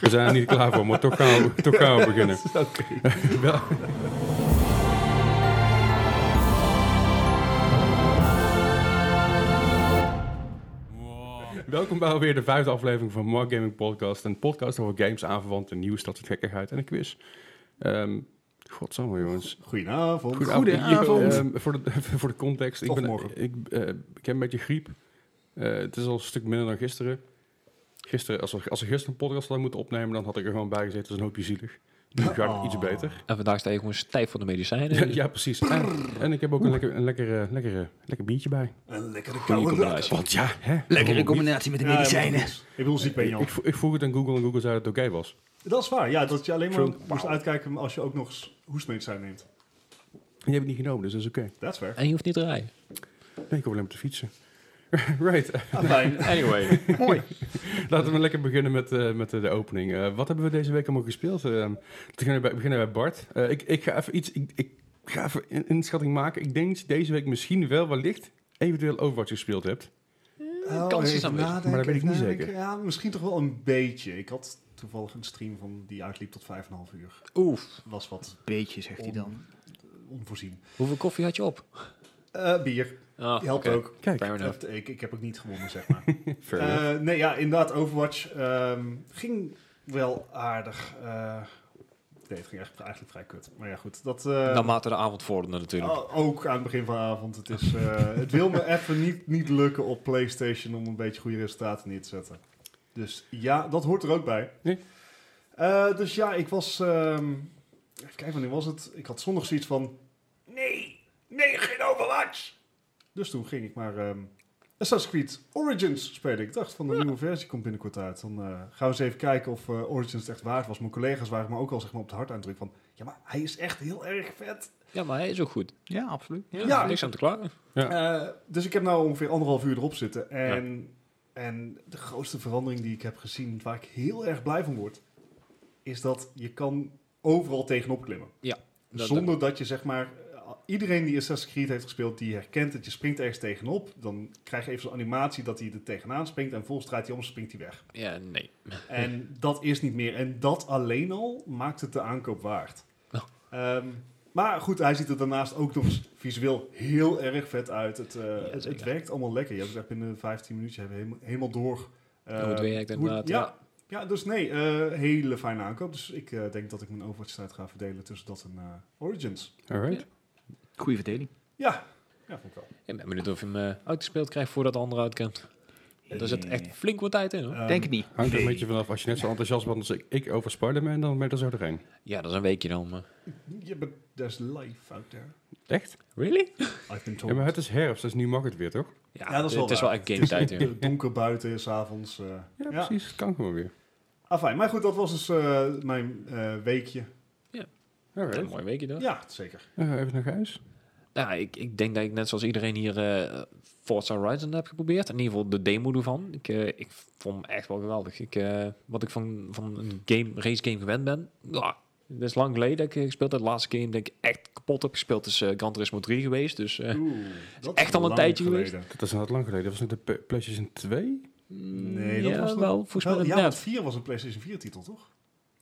We zijn er niet klaar voor, maar toch gaan we, toch gaan we beginnen. Wel- Welkom bij alweer de vijfde aflevering van Mark Gaming Podcast. Een podcast over games, aanverwante nieuws, dat soort gekkigheid en een quiz. Ehm godsamme jongens. Goedenavond. Goedenavond. Ehm, voor, de, voor de context, ik, Of ben, morgen. ik, eh, ik heb een beetje griep. Eh, het is al een stuk minder dan gisteren. Gisteren, als we, als we gisteren een podcast hadden moeten opnemen, dan had ik er gewoon bij gezeten. Dat is een hoopje zielig. Nu gaat het iets beter. En vandaag sta je gewoon stijf van de medicijnen. Ja, precies. En, en ik heb ook een lekker, een lekker, eh, lekker, eh, lekker biertje bij. Een lekkere Goeie koude lak. combinatie. Want ja, hè? Lekkere combinatie met de Ja, medicijnen. maar goed. Ik bedoel, ziek ben je al. Ik, vo- ik vroeg het aan Google en Google zei dat het oké was. Dat is waar, ja, dat je alleen maar Zo, moest uitkijken als je ook nog eens hoestmedicijn neemt. Die heb ik niet genomen, dus dat is oké. Dat is waar. En je hoeft niet te rijden. Nee, ik hoef alleen maar te fietsen. right, eh, Ah, fijn. Anyway. laten we lekker beginnen met, eh, met eh, de opening. Eh, wat hebben we deze week allemaal gespeeld? Eh, we beginnen bij, beginnen bij Bart. Eh, ik, ik ga even iets... Ik, ik ga even een inschatting maken. Ik denk dat je deze week misschien wel wellicht eventueel Overwatch gespeeld hebt. Oh, kans is even aanwezig. Maar nadenken, dat weet ik even niet nadenken. zeker. Ja, misschien toch wel een beetje. Ik had toevallig een stream van die uitliep tot 5,5 uur. Oef. Was wat Beetje, zegt hij on- dan. onvoorzien. Hoeveel koffie had je op? Eh, bier, Ah, die helpt oké. ook. Kijk, Fair enough. Dat- Ik, ik heb ook niet gewonnen, zeg maar. fair enough. Eh, nee, ja, inderdaad, Overwatch ehm, ging wel aardig. Eh, nee, het ging echt, eigenlijk vrij kut. Maar ja, goed, dat... eh, Ah. Naarmate de avond vorderde natuurlijk. O- Oh, Ook aan het begin van de avond. Het, is, eh, het wil me even niet, niet lukken op PlayStation om een beetje goede resultaten neer te zetten. Dus ja, dat hoort er ook bij. Nee. Eh, dus ja, ik was. ehm even kijken, wanneer was het? Ik had zondag zoiets van. Nee, nee, geen Overwatch! Dus toen ging ik maar. ehm Assassin's Creed Origins spelen. Ik dacht van de nieuwe versie komt binnenkort uit. Dan eh, gaan we eens even kijken of eh, Origins het echt waard was. Mijn collega's waren me ook al zeg maar, op het hart aan het drukken van... Ja, maar hij is echt heel erg vet. Ja, maar hij is ook goed. Ja, absoluut. Ja, Ja. niks aan te klagen. Eh, dus ik heb nu ongeveer anderhalf uur erop zitten. En, en de grootste verandering die ik heb gezien, waar ik heel erg blij van word, is dat je kan overal tegenop klimmen. Dat- zonder dat je zeg maar. eh, Iedereen die Assassin's Creed heeft gespeeld, die herkent dat je springt ergens tegenop. Dan krijg je even zo'n animatie dat hij er tegenaan springt. En volgens draait hij om, springt hij weg. Ja, nee. En dat is niet meer. En dat alleen al maakt het de aankoop waard. Nou. Ehm, maar goed, hij ziet er daarnaast ook nog eens visueel heel erg vet uit. Het, eh, het, het zeker. werkt allemaal lekker. Je hebt het echt binnen 15 minuten je hebt helemaal, helemaal door. eh, Hoe Oh, het werkt inderdaad, ja, ja. ja, dus nee, eh, hele fijne aankoop. Dus ik eh, denk dat ik mijn Overwatch-tijd ga verdelen tussen dat en eh, Origins. Alright. Goeie verdeling. Ja, ja, vond ik wel. Ik ben benieuwd of je hem eh, uitgespeeld krijgt voordat de ander uitkomt. Daar zit echt flink wat tijd in hoor. Ehm, Denk het niet. Hangt er een beetje vanaf. Als je net zo enthousiast bent als ik, ik over Spider-Man, dan ben je er zo doorheen. Ja, dat is een weekje dan. eh. maar- Ja, but there's life out there. Echt? Really? I've been told. Ja, maar het is herfst, dus nu mag het weer, toch? Ja, dat is wel Het is waar. wel echt game tijd. Het is Eh, donker buiten, s'avonds. eh Ja, ja, precies. Het kan gewoon weer. Afijn, maar goed, dat was dus eh, mijn eh, weekje. Een Alright. mooi weekje dan. Ja, zeker. Eh, even naar huis. Nou, ik, ik denk dat ik net zoals iedereen hier eh, Forza Horizon heb geprobeerd. In ieder geval de demo ervan. Ik, eh, ik vond hem echt wel geweldig. Ik, eh, wat ik van, van een game, race game gewend ben. Ja, het is lang geleden dat ik eh, gespeeld heb. De laatste game dat ik echt kapot heb gespeeld is eh, Gran Turismo 3 geweest. Dus eh, Oeh, dat echt is al een lang tijdje Dat is net lang geleden. Dat was net de P- PlayStation 2? Nee, dat ja, was nog- wel. Volgens mij Wel, ja, net. want 4 was een PlayStation 4 titel, toch?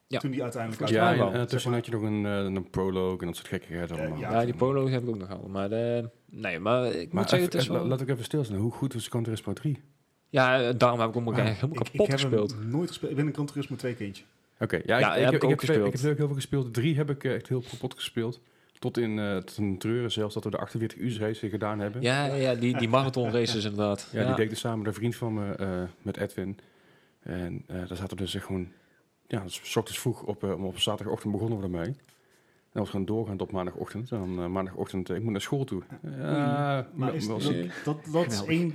Ja. Toen die uiteindelijk Volgens mij Ja, uitkwam. en, wel. en tussen had je nog een, eh, een prologue en dat soort gekkigheid allemaal. ja. Ja, die polo's heb ik ook nog al. Maar eh, nee, maar ik Maar moet zeggen, even- het is eh, la- wel... laat ik even stilstaan. Hoe goed was Gran Turismo 3? Ja, eh, daarom heb ik hem ook eigenlijk Ik- helemaal ik, kapot heb gespeeld. hem nooit gespeeld. Ik ben een Gran Turismo 2 kindje. Oké, ja, Ja, ik, heb ik, ik ik ook heb, twee- gespeeld. ik heb ook heel veel gespeeld. Drie heb ik eh, echt heel kapot gespeeld. Tot in eh tot een treuren zelfs dat we de 48 uur race gedaan hebben. Ja, ja, die, die marathon races inderdaad. Ja, die deed ik dus samen met een vriend van me, eh, met Edwin. En eh, daar zaten we dus echt gewoon... Ja, dus 's ochtends vroeg op, eh, om op zaterdagochtend begonnen we ermee. En we gaan doorgaan tot maandagochtend. En dan eh, maandagochtend, eh, ik moet naar school toe. Ja, Maar is, wel- dat, wel- dat, dat, is Geweldig. één,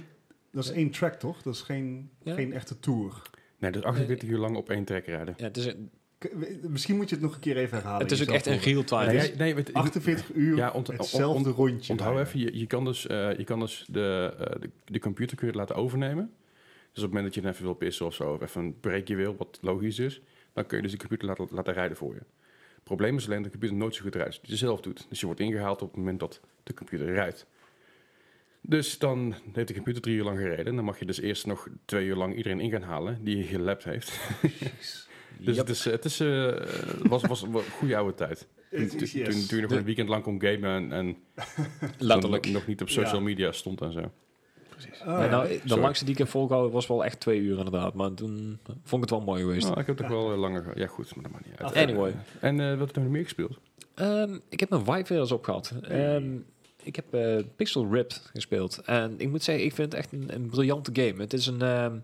dat is één track, toch? Dat is geen, Ja. geen echte tour. Nee, dus 48 uur lang op één trek rijden. Ja, het is, K- we- Misschien moet je het nog een keer even herhalen. het is ook jezelf echt een horen. real time. Nee, jij- nee, weet- 48 uur, Ja, ont- hetzelfde rondje. Onthoud rijden. even, je, je kan dus, eh, je kan dus de, eh, de, de computer kun je laten overnemen. Dus op het moment dat je dan even wil pissen of zo, of even een breekje wil, wat logisch is, dan kun je dus de computer laten, laten rijden voor je. Het probleem is alleen dat de computer nooit zo goed rijdt als je het zelf doet. Dus je wordt ingehaald op het moment dat de computer rijdt. Dus dan heeft de computer drie uur lang gereden. En dan mag je dus eerst nog twee uur lang iedereen in gaan halen die je gelapt heeft. Dus het, is, het is, eh, was, was een goede oude tijd. Toen, Het is- yes. toen, toen je nog een weekend lang kon gamen en, en Letterlijk. nog niet op social Ja. media stond en zo. Ah, Nee, nou, ja. de Sorry. langste die ik heb volgehouden was wel echt twee uur inderdaad. Maar toen vond ik het wel mooi geweest. Nou, ik heb toch wel eh, langer... ge- Ja, goed, maar dat maakt niet uit. Anyway. En eh, wat heb je nog meer gespeeld? Ehm, ik heb mijn wifi eens opgehad. Ehm, ik heb eh, Pixel Ripped gespeeld. En ik moet zeggen, ik vind het echt een, een briljante game. Het is een... ehm,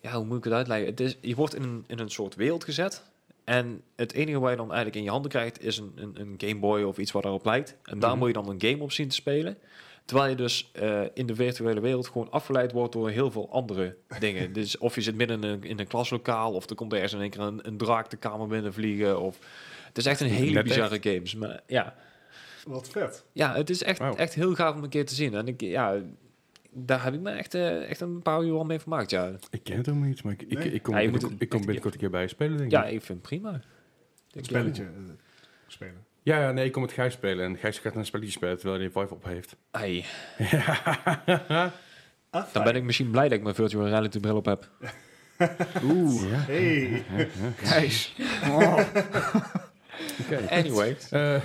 ja, hoe moet ik het uitleggen? Het is, je wordt in een, in een soort wereld gezet. En het enige wat je dan eigenlijk in je handen krijgt... is een, een, een Game Boy of iets wat daarop lijkt. En daar Mhm. moet je dan een game op zien te spelen. Terwijl je dus eh, in de virtuele wereld gewoon afgeleid wordt door heel veel andere dingen. Dus of je zit midden in een, in een klaslokaal, of er komt ergens in één keer een, een draak de kamer binnen vliegen. Of... Het is echt een hele Net echt. bizarre games. Maar ja, Wat vet. ja het is echt, Wauw. echt heel gaaf om een keer te zien. En ik, ja, daar heb ik me echt, eh, echt een paar uur al mee vermaakt. Ja, Ik ken het helemaal niet, maar ik, ik, Nee? ik kom, Ja, je ik, moet kom- het- ik kom binnenkort een keer bij je spelen, denk ik. ja ik vind het prima. Het Ik, spelletje. eh, Spelen. Ja, ja, nee, ik kom met Gijs spelen. En Gijs gaat naar een spelletje spelen terwijl hij Vive op heeft. eh, ai, Ah, dan ben ik misschien blij dat ik mijn virtual reality bril op heb. Oeh. Ja. Hey. Gijs. Oh. Oké. Anyway, Eh,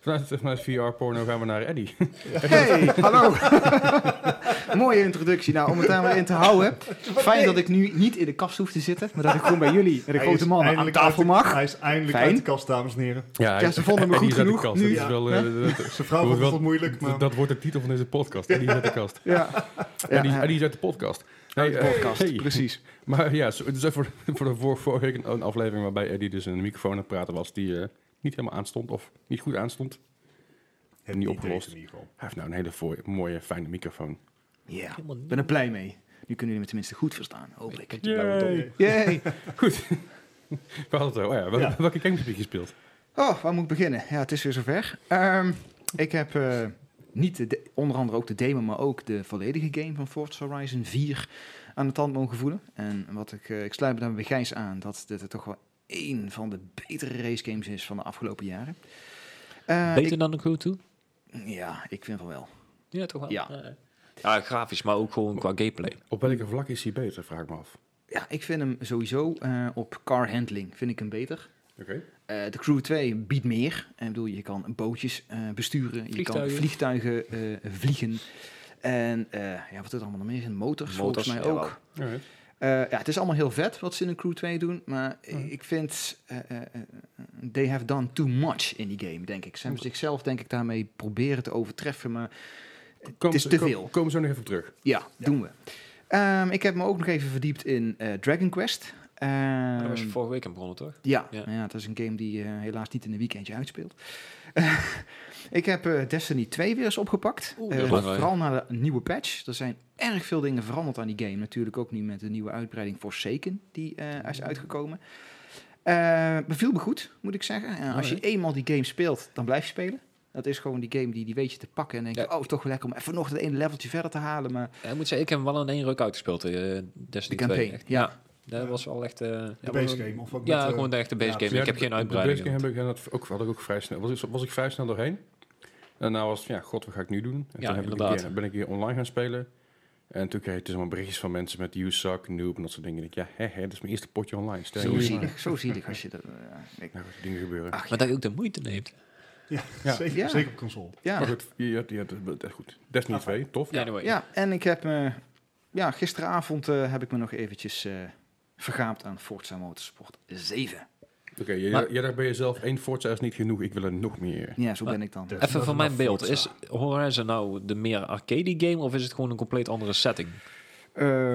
vanuit, vanuit VR-porno gaan we naar Eddie. Hey, hallo. Mooie introductie. Nou, om het daar maar in te houden. Fijn dat ik nu niet in de kast hoef te zitten, maar dat ik gewoon bij jullie, de Hij grote is mannen, aan eindelijk tafel uit de- mag. Hij is eindelijk Fijn. uit de kast, dames en heren. Ja, Ja, ze vonden me Eddie goed is uit de genoeg. kast. Nu, Dat is wel, eh, dat- dat- Zijn vrouw Hoe vond het wel- wel moeilijk, maar... dat, dat wordt de titel van deze podcast. Eddie is uit de kast. Ja, ja, Eddie, ja, Eddie is uit de podcast. uit de Nee, eh, podcast, hey. precies. Maar ja, zo- dus even voor, voor de vor- vorige week een, een aflevering waarbij Eddie dus in een microfoon aan het praten was die eh, niet helemaal aanstond of niet goed aanstond. Het niet idee opgelost. in ieder geval. Hij heeft nou een hele fooi- mooie, fijne microfoon. Ja, helemaal niet. ben er blij mee. Nu kunnen jullie me tenminste goed verstaan, hoop ik. Ik ben wel dom. Yay. Yay. Goed. We hadden het over. Oh ja, wel- Ja. welke games heb je gespeeld? Oh, waar moet ik beginnen? Ja, het is weer zover. Ehm, ik heb eh, niet de de- onder andere ook de demo, maar ook de volledige game van Forza Horizon 4 aan de tand mogen voelen. En wat ik, eh, ik sluit me daar bij Gijs aan dat dit er toch wel één van de betere racegames is van de afgelopen jaren. Eh, Beter dan de crew toe? ik- ja, ik vind van wel. Ja, toch wel? Ja. Ja. Ja, grafisch, maar ook gewoon qua gameplay. Op welke vlak is hij beter, vraag ik me af. Ja, ik vind hem sowieso eh, op car handling vind ik hem beter. Oké. Eh, de Crew 2 biedt meer. Eh, ik bedoel, je kan bootjes eh, besturen, je kan Vliegtuigen. vliegtuigen eh, vliegen. En eh, ja, wat er allemaal nog meer is, motors, Motors, volgens mij jawel. ook. Eh, ja, het is allemaal heel vet wat ze in de Crew 2 doen, maar Mhm. ik vind eh, eh, eh, they have done too much in die game, denk ik. Ze hebben zichzelf, denk ik, daarmee proberen te overtreffen, maar Kom, is te veel. Komen we zo nog even op terug. ja, doen we. Ehm, ik heb me ook nog even verdiept in eh, Dragon Quest. Dat was je Ehm, vorige week aan begonnen, toch? Ja, Ja. ja. ja, dat is een game die eh, helaas niet in een weekendje uitspeelt. ik heb eh, Destiny 2 weer eens opgepakt. Oeh, dat Eh, is lang, hè? vooral na de nieuwe patch. Er zijn erg veel dingen veranderd aan die game. Natuurlijk ook nu met de nieuwe uitbreiding Forsaken, die eh, is uitgekomen. Eh, beviel me goed, moet ik zeggen. En als je Alright. eenmaal die game speelt, dan blijf je spelen. Dat is gewoon die game die, die weet je te pakken. En denk je, Ja. oh, is toch wel lekker om even nog dat ene leveltje verder te halen. Maar Ja, ik moet zeggen, ik heb hem wel in één ruk uitgespeeld. eh de Destiny 2. campaign, Echt. ja. Dat was wel echt... eh, De ja, base wel- game. Of wat Ja, met, eh, gewoon de echte base ja, game. Ja, ik heb de- geen De base uitbreiding. game heb ik, inderdaad ook, had ik ook vrij snel. Was ik, was ik vrij snel doorheen. En nou was het, van, ja, god, wat ga ik nu doen? En toen Ja, heb ik een inderdaad. keer, ben ik hier online gaan spelen. En toen kreeg ik dus allemaal berichtjes van mensen met you suck, noob en dat soort dingen. Ik denk, ja, hè, hè, dat is mijn eerste potje online. Stel je Zo niet zielig, zo zielig als je dat... eh, ik- Nou, dat soort dingen gebeuren. Ach, Maar dat je ook de moeite neemt. Ja, Ja. Zeker, Ja. zeker op console. ja. Maar goed, je had, je had, het is goed. Destiny Ah, 2, tof. Ja, anyway. Ja, en ik heb me... Ja, gisteravond eh, heb ik me nog eventjes eh, vergaapt aan Forza Motorsport 7. Oké, jij- Maar- jij dacht bij jezelf, één Forza is niet genoeg, ik wil er nog meer. Ja, zo ben ik dan. de- Even Dat van mag mijn beeld. Forza. Is Horizon nou de meer arcade game of is het gewoon een compleet andere setting?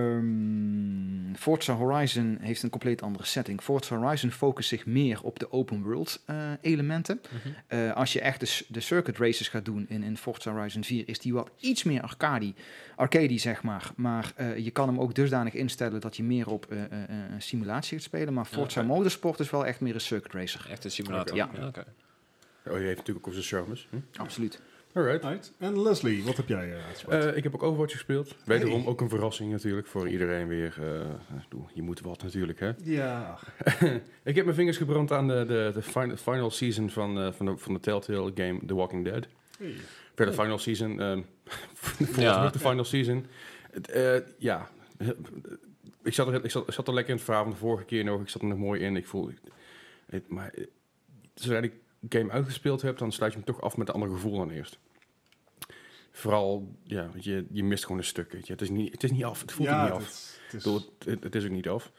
Ehm, Forza Horizon heeft een compleet andere setting. Forza Horizon focust zich meer op de open world eh, elementen. Eh, als je echt de, s- de circuit races gaat doen in, in Forza Horizon 4, is die wat iets meer arcade, arcade zeg maar. Maar eh, je kan hem ook dusdanig instellen dat je meer op eh, eh, eh, een simulatie gaat spelen. Maar Forza oké. Motorsport is wel echt meer een circuit racer. Echt een simulator. Ja. oké. Oh, je heeft natuurlijk ook zijn charmes. Hm? Absoluut. Alright. Uit. En Leslie, wat heb jij eh uitgespeeld? Eh, ik heb ook Overwatch gespeeld. Wederom ook een verrassing natuurlijk voor iedereen weer. eh, ik bedoel, je moet wat natuurlijk, hè. ja, Ik heb mijn vingers gebrand aan de, de, de fin- final season van, eh, van, de, van de Telltale game The Walking Dead. hey. Verder final season. ehm volgens Ja. mij de final season. Het, eh, ja. Ik zat, er, ik, zat, ik zat er lekker in het verhaal van de vorige keer nog. Ik zat er nog mooi in. Ik voel... Het, maar eh, zodra ik de game uitgespeeld heb, dan sluit je hem toch af met een ander gevoel dan eerst. Vooral, ja, weet je, je mist gewoon een stuk. Weet je. Het, is niet, het is niet af. Het voelt ja, niet af. het is- het is- Ik bedoel, het, het is ook niet af.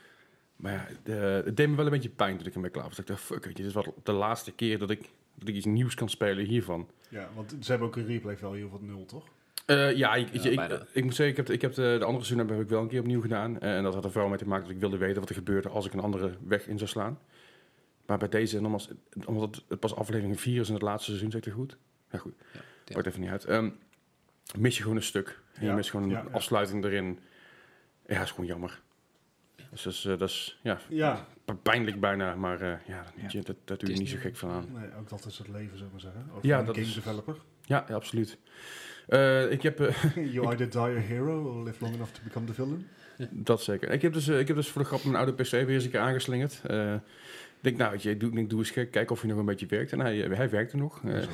Maar ja, de- het deed me wel een beetje pijn toen ik ermee klaar was. Ik dacht, fuck, weet je, dit is wat de laatste keer dat ik, dat ik iets nieuws kan spelen hiervan. ja, want ze hebben ook een replay value van nul, toch? Eh, ja, ik, weet je, Ja, ik, bijna. ik moet zeggen, ik heb, ik heb de, de andere seizoen heb ik wel een keer opnieuw gedaan. Eh, en dat had er vooral mee te maken dat ik wilde weten wat er gebeurde als ik een andere weg in zou slaan. Maar bij deze, nogmaals, omdat het, het pas aflevering 4 is in het laatste seizoen, zeg ik het goed? Ja, goed. Ja, ja. Maakt even niet uit. Ehm, mis je gewoon een stuk. En je Ja, mist gewoon een ja, ja. afsluiting erin. Ja, is gewoon jammer. Dus dat is, eh, dat is ja, Ja, P- pijnlijk bijna, maar eh, ja, Ja. je- dat, dat doe is je niet zo niet- gek van aan. nee, ook dat is het leven, zullen we zeggen. Ook Ja, ja, een dat game is- developer. Ja, ja, absoluut. Eh, ik heb, eh, you either die a hero or live long enough to become the villain. dat zeker. Ik heb, dus, eh, ik heb dus voor de grap mijn oude PC weer eens een keer aangeslingerd. Eh, ik denk, nou, weet je, ik doe, ik doe eens gek, kijk of hij nog een beetje werkt. En hij, hij werkte nog. Eh, is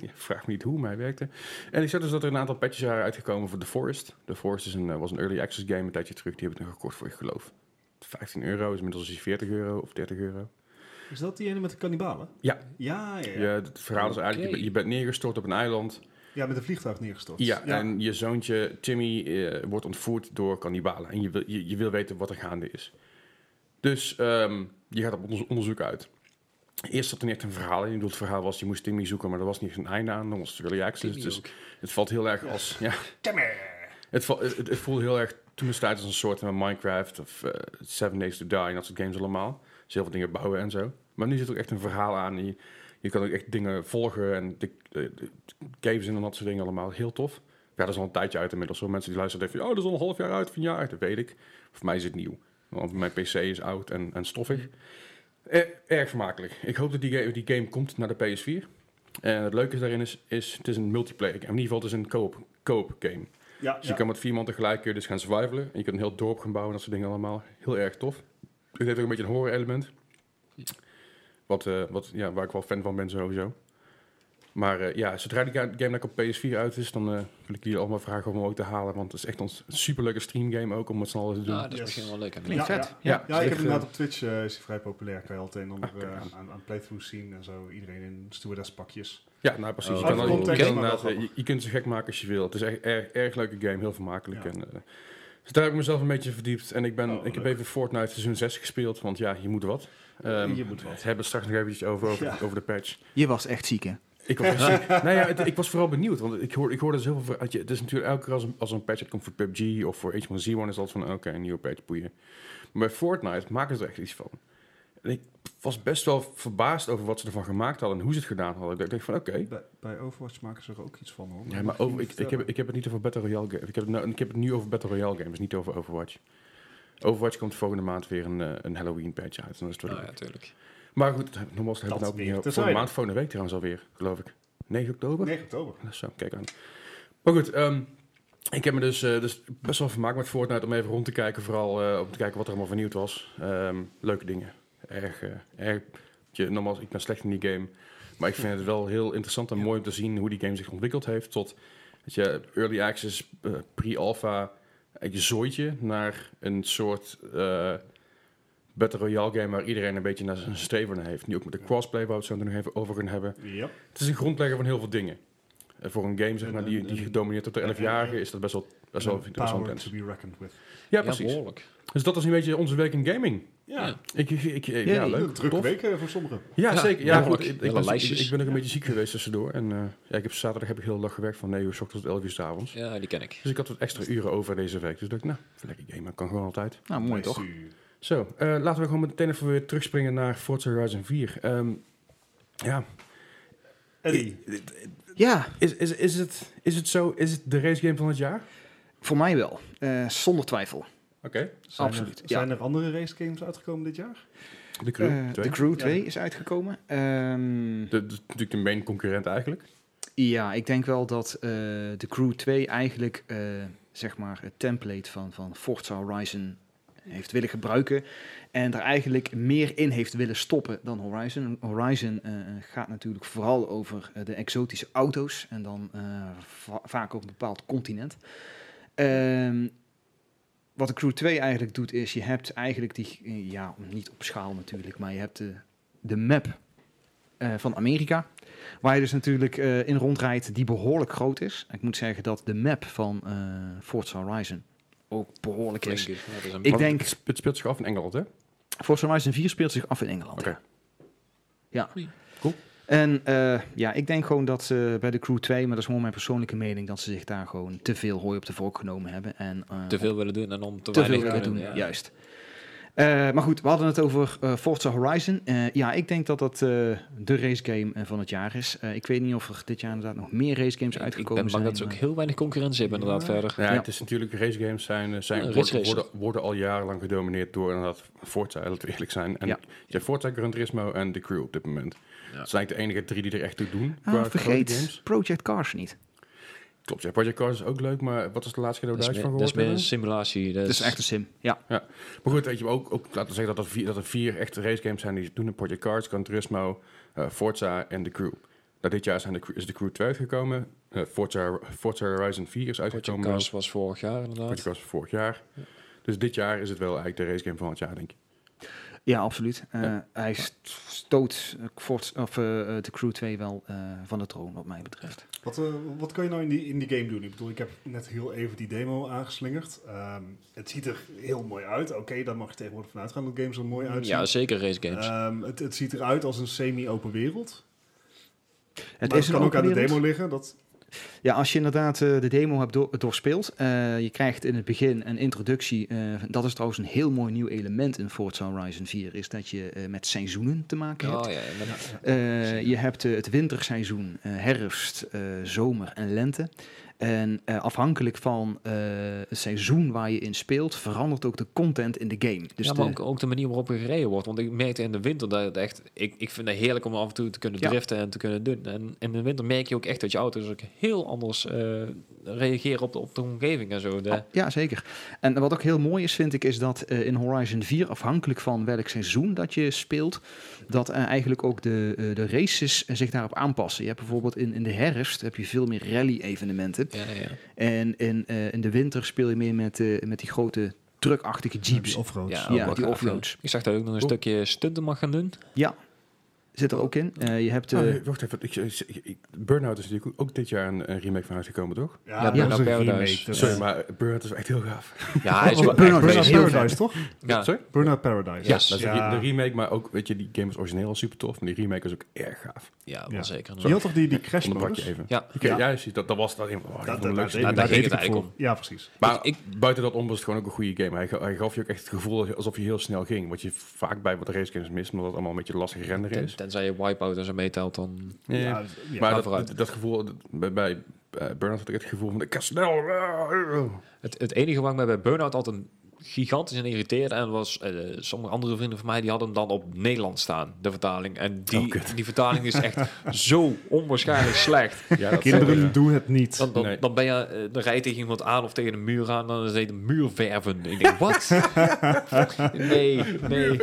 ja, vraag me niet hoe, maar hij werkte. En ik zag dus dat er een aantal patches waren uitgekomen voor The Forest. The Forest is een, eh, was een early access game een tijdje terug. Die heb ik nog gekocht voor, ik geloof, 15 euro. Is inmiddels is die 40 euro of 30 euro. Is dat die ene met de kannibalen? Ja. Ja, ja, ja. Ja, het verhaal is eigenlijk, je Oké. bent- je bent neergestort op een eiland. Ja, met een vliegtuig neergestort. Ja, en je zoontje Timmy eh, wordt ontvoerd door kannibalen. En je wil, je, je wil weten wat er gaande is. Dus ehm, je gaat op onderzo- onderzoek uit. Eerst zat er net een verhaal in. Ik bedoel, het verhaal was, je moest Timmy zoeken, maar er was niet een einde aan. Dan was het early access. Timmy Dus ook. het valt heel erg als... Ja, het, val- het, het voelde heel erg toen destijds als een soort van Minecraft of eh, Seven Days to Die en dat soort games allemaal. Dus heel veel dingen bouwen en zo. Maar nu zit ook echt een verhaal aan. en Je, je kan ook echt dingen volgen en de, de, de caves in en dat soort dingen allemaal. Heel tof. Ja, dat is al een tijdje uit inmiddels. Zo mensen die luisteren denken, van, oh, dat is al een half jaar uit of een jaar uit. Dat weet ik. Voor mij is het nieuw. Want mijn PC is oud en, en stoffig. Eh, erg vermakelijk. Ik hoop dat die game, die game komt naar de PS4. En Eh, het leuke daarin is, is het is een multiplayer game. In ieder geval, het is een co-op, co-op game. Ja, Dus je kan met vier man tegelijk kun je dus gaan survivalen. En je kunt een heel dorp gaan bouwen, dat soort dingen allemaal. Heel erg tof. Het heeft ook een beetje een horror element. Wat, eh, wat, ja, waar ik wel fan van ben sowieso. Maar eh, ja, zodra die ga- game lekker op PS4 uit is, dan eh, wil ik jullie allemaal vragen om hem ook te halen. Want het is echt een superleuke streamgame ook, om met z'n allen te doen. Nou, dat is Yes. misschien wel leuk. Klinkt Ja, vet. ja. Ja. Ja, ik heb echt, eh, inderdaad op Twitch eh, is hij vrij populair. Kan je altijd onder Ah, kijk eh, aan. aan, aan playthroughs zien en zo. Iedereen in stewardess pakjes. Ja, nou precies. Oh, je, kan uit al- context, je kan maar wel inderdaad, eh, je, grappig. je kunt ze gek maken als je wil. Het is echt erg, erg leuke game, heel vermakelijk. Ja. En, eh, dus daar heb ik mezelf een beetje in verdiept. En ik, ben, Oh, ik heb leuk. even Fortnite seizoen 6 gespeeld, want ja, je moet wat. Ehm, Je moet wat. We hebben het straks nog eventjes over, over, Ja. over de patch. Je was echt ziek, hè? Ik was, echt- nou ja, het- ik was vooral benieuwd, want ik hoorde, ik hoorde dus heel veel... ver- uit je- Het is natuurlijk elke keer als een, als een patch uitkomt voor PUBG of voor H1Z1... is het altijd van, oké, een nieuwe patch, boeien. Maar bij Fortnite maken ze er echt iets van. En ik was best wel verbaasd over wat ze ervan gemaakt hadden... en hoe ze het gedaan hadden. Ik dacht van, oké, Bij, bij Overwatch maken ze er ook iets van hoor. ja, maar over, ik, ik, heb, ik heb het niet over Battle Royale games. Ik heb, het nou, ik heb het nu over Battle Royale games, niet over Overwatch. Overwatch komt volgende maand weer een, eh, een Halloween patch uit. en dat is het wel Oh, ja, leuk. natuurlijk. Maar goed, nogmaals, daar hebben we Dat het nou ook weer niet over. Volgende terzijde. maand, volgende week trouwens alweer, geloof ik. 9 oktober? 9 oktober. Dat is zo, kijk aan. Maar goed, ehm, ik heb me dus, eh, dus best wel vermaakt met Fortnite om even rond te kijken. Vooral eh, om te kijken wat er allemaal vernieuwd was. Ehm, leuke dingen. Erg, eh, erg. Je, nogmaals, ik ben slecht in die game. Maar ik vind het wel heel interessant en mooi om te zien hoe die game zich ontwikkeld heeft. Tot weet je, early access, eh, pre-alpha, eh, je zooitje naar een soort eh battle royale game waar iedereen een beetje naar zijn streven naar heeft. Nu ook met de crossplay, waar we het zo nog even over gaan hebben. Ja. Het is een grondlegger van heel veel dingen. Eh, voor een game zeg En- maar, die, en- die en- gedomineerd wordt door en- 11-jarigen en- is dat best wel, best wel, best wel Power intens. to be reckoned with. Ja, Ja, precies. behoorlijk. Dus dat is een beetje onze week in gaming. Ja, Ja. Ik, ik, ik- eh, Ja, ja, die- leuk. leuk. Een drukke tof. week eh, voor sommigen. Ja, Ja, zeker. Ja, behoorlijk. goed, ik, ik, Hele ben, ik, lijstjes. ik ben ook een beetje ziek geweest tussendoor. En eh, ja, ik heb zaterdag heb ik heel de dag gewerkt van 9 uur s ochtends tot 11 uur s avonds. Ja, die ken ik. Dus ik had wat extra uren over deze week. Dus dacht ik, nou, even lekker gamen. Kan gewoon altijd. Nou, mooi toch? Zo, eh, laten we gewoon meteen even weer terugspringen naar Forza Horizon 4. Ehm, ja, Eddie. Ja, is, is, is, het, is het zo? Is het de race game van het jaar? Oké. voor mij wel. Eh, zonder twijfel. Zijn Absoluut, Er, ja. Zijn er andere race games uitgekomen dit jaar? De crew. Eh, twee. de Crew Ja. 2 is uitgekomen. Ehm, De, de- natuurlijk de main concurrent eigenlijk. ja, ik denk wel dat eh, de Crew 2 eigenlijk, eh, zeg maar, het template van, van Forza Horizon heeft willen gebruiken. En er eigenlijk meer in heeft willen stoppen dan Horizon. Horizon eh, gaat natuurlijk vooral over eh, de exotische auto's. En dan eh, va- vaak op een bepaald continent. Ehm, wat de Crew 2 eigenlijk doet is, je hebt eigenlijk die, eh, ja, niet op schaal natuurlijk, maar je hebt de, de map eh, van Amerika. Waar je dus natuurlijk eh, in rondrijdt, die behoorlijk groot is. Ik moet zeggen dat de map van eh Forza Horizon ook behoorlijk is. Klinkt- ja, dat is een- Ik denk, Het sp- het speelt zich af in Engeland, hè? Forza Horizon 4 speelt zich af in Engeland. Oké. Ja. Oei. Cool. En eh, ja, ik denk gewoon dat ze bij de Crew 2, maar dat is gewoon mijn persoonlijke mening, dat ze zich daar gewoon te veel hooi op de vork genomen hebben. En, eh, te veel willen doen en dan te, te veel weinig willen doen. kunnen, ja. Juist. Eh, maar goed, we hadden het over eh, Forza Horizon. Eh, ja, ik denk dat dat eh, de racegame eh, van het jaar is. Eh, ik weet niet of er dit jaar inderdaad nog meer racegames Ik- Ik ben uitgekomen bang zijn. dat ze ook maar- heel weinig concurrentie hebben inderdaad Ja. verder. Ja, Ja. het is natuurlijk, race games zijn, eh, zijn, Ja, race worden, races. worden, worden al jarenlang gedomineerd door inderdaad Forza, laten we eerlijk zijn. En Ja. je hebt Forza, Gran Turismo en The Crew op dit moment. Ja. Dat zijn eigenlijk de enige drie die er echt toe doen. qua Ah, grote vergeet games. Project Cars niet. Klopt, ja. Project Cars is ook leuk, maar wat is de laatste keer Dat dat is we meer, daar dat iets is van meer een gehoord simulatie. Dat Het is echt een sim. Ja, hebben? Ja. Maar goed, weet je, ook, ook laten we zeggen dat er vier, dat er vier echte race games zijn die ze doen. Project Cars, Gran Turismo, eh, Forza en The Crew. Nou, dit jaar zijn de, Crew- is The Crew 2 uitgekomen. Eh, Forza, Forza Horizon 4 is Project uitgekomen. dus. Cars was vorig jaar Project inderdaad. Cars was vorig jaar. Dus dit jaar is het wel eigenlijk de race game van het jaar, denk ik. ja absoluut. Eh, Ja. Hij st- stoot eh, Forza, of, eh, eh, de Crew 2 wel eh, van de troon, wat mij betreft. Wat, eh, wat kan je nou in die, in die game doen? Ik bedoel, ik heb net heel even die demo aangeslingerd. Ehm, het ziet er heel mooi uit. Oké, daar mag je tegenwoordig vanuit gaan dat games er mooi uitzien. Ja, zeker race games. Ehm, het, het ziet eruit als een semi-open wereld. Het maar is het kan een ook aan open de wereld. demo liggen. Dat, Ja, als je inderdaad eh, de demo hebt door- doorspeeld, eh, je krijgt in het begin een introductie. eh, dat is trouwens een heel mooi nieuw element in Forza Horizon 4, is dat je eh, met seizoenen te maken hebt. Oh ja, en dan- Eh, je hebt eh, het winterseizoen, eh, herfst, eh, zomer en lente. En eh, afhankelijk van eh, het seizoen waar je in speelt, verandert ook de content in de game. Dus ja, maar de- ook, ook de manier waarop er gereden wordt. Want ik merkte in de winter dat het echt... Ik, ik vind het heerlijk om af en toe te kunnen Ja. driften en te kunnen doen. En in de winter merk je ook echt dat je auto's ook heel anders eh, reageren op de, op de omgeving en zo. De, Ah, Ja, zeker. En wat ook heel mooi is, vind ik, is dat eh, in Horizon 4, afhankelijk van welk seizoen dat je speelt, dat eh, eigenlijk ook de, eh, de races zich daarop aanpassen. Je hebt bijvoorbeeld in, in de herfst heb je veel meer rally-evenementen. ja, ja. En in, eh, in de winter speel je meer met, eh, met die grote truckachtige jeeps. Offroads. Ja, Ja, ook die wel offroads. gaaf, ja. Ik zag dat ook nog een Cool. stukje stunten mag gaan doen. Zit er ook in. Eh, je hebt... eh, Oh, wacht even, ik, ik- ik- Burnout is natuurlijk ook dit jaar een, een remake van uitgekomen, toch? Ja, Ja, dat is een Burnout Paradise. remake. dus- Sorry, maar Burnout is echt heel gaaf. Ja, hij is wel Oh, echt Burnout crazy. Burnout Paradise, toch? Ja. Sorry? Burnout Paradise. Ja, Dat is Ja. de remake, maar ook, weet je, die game is origineel al super tof, maar die remake is ook erg gaaf. Ja, Ja. wel zeker. Je had toch die, die crash Onderbrak modus? je even. Ja. Oké, Ja. ja, precies, dat, dat was dat een van oh, een van de leukste. daar games. ging het ik eigenlijk voor. om. Ja, precies. Maar Ik- buiten dat om was het gewoon ook een goede game. Hij, ga- hij gaf je ook echt het gevoel alsof je heel snel ging. Wat je vaak bij wat racegames mist, omdat het allemaal een beetje lastig renderen Ten- is. tenzij je wipeout en zo meetelt, dan... Ja, ja. Ja, ja. maar ga dat, vooruit. dat, dat gevoel, dat- bij, bij eh, Burnout had ik het gevoel van, ik kan snel. eh, Het, het enige waar ik mij bij Burnout altijd gigantisch in irriteerde... en was eh, sommige andere vrienden van mij... die hadden hem dan op Nederlands staan, de vertaling. En die, Oh, kut. die vertaling is echt zo onwaarschijnlijk slecht. eh. Ja, dat- Kinderen, ja. doe het niet. Dan, dan, Nee. dan ben je, eh, dan rij je tegen iemand aan of tegen een muur aan... dan is het een muur verven. Ik denk, wat? nee, nee.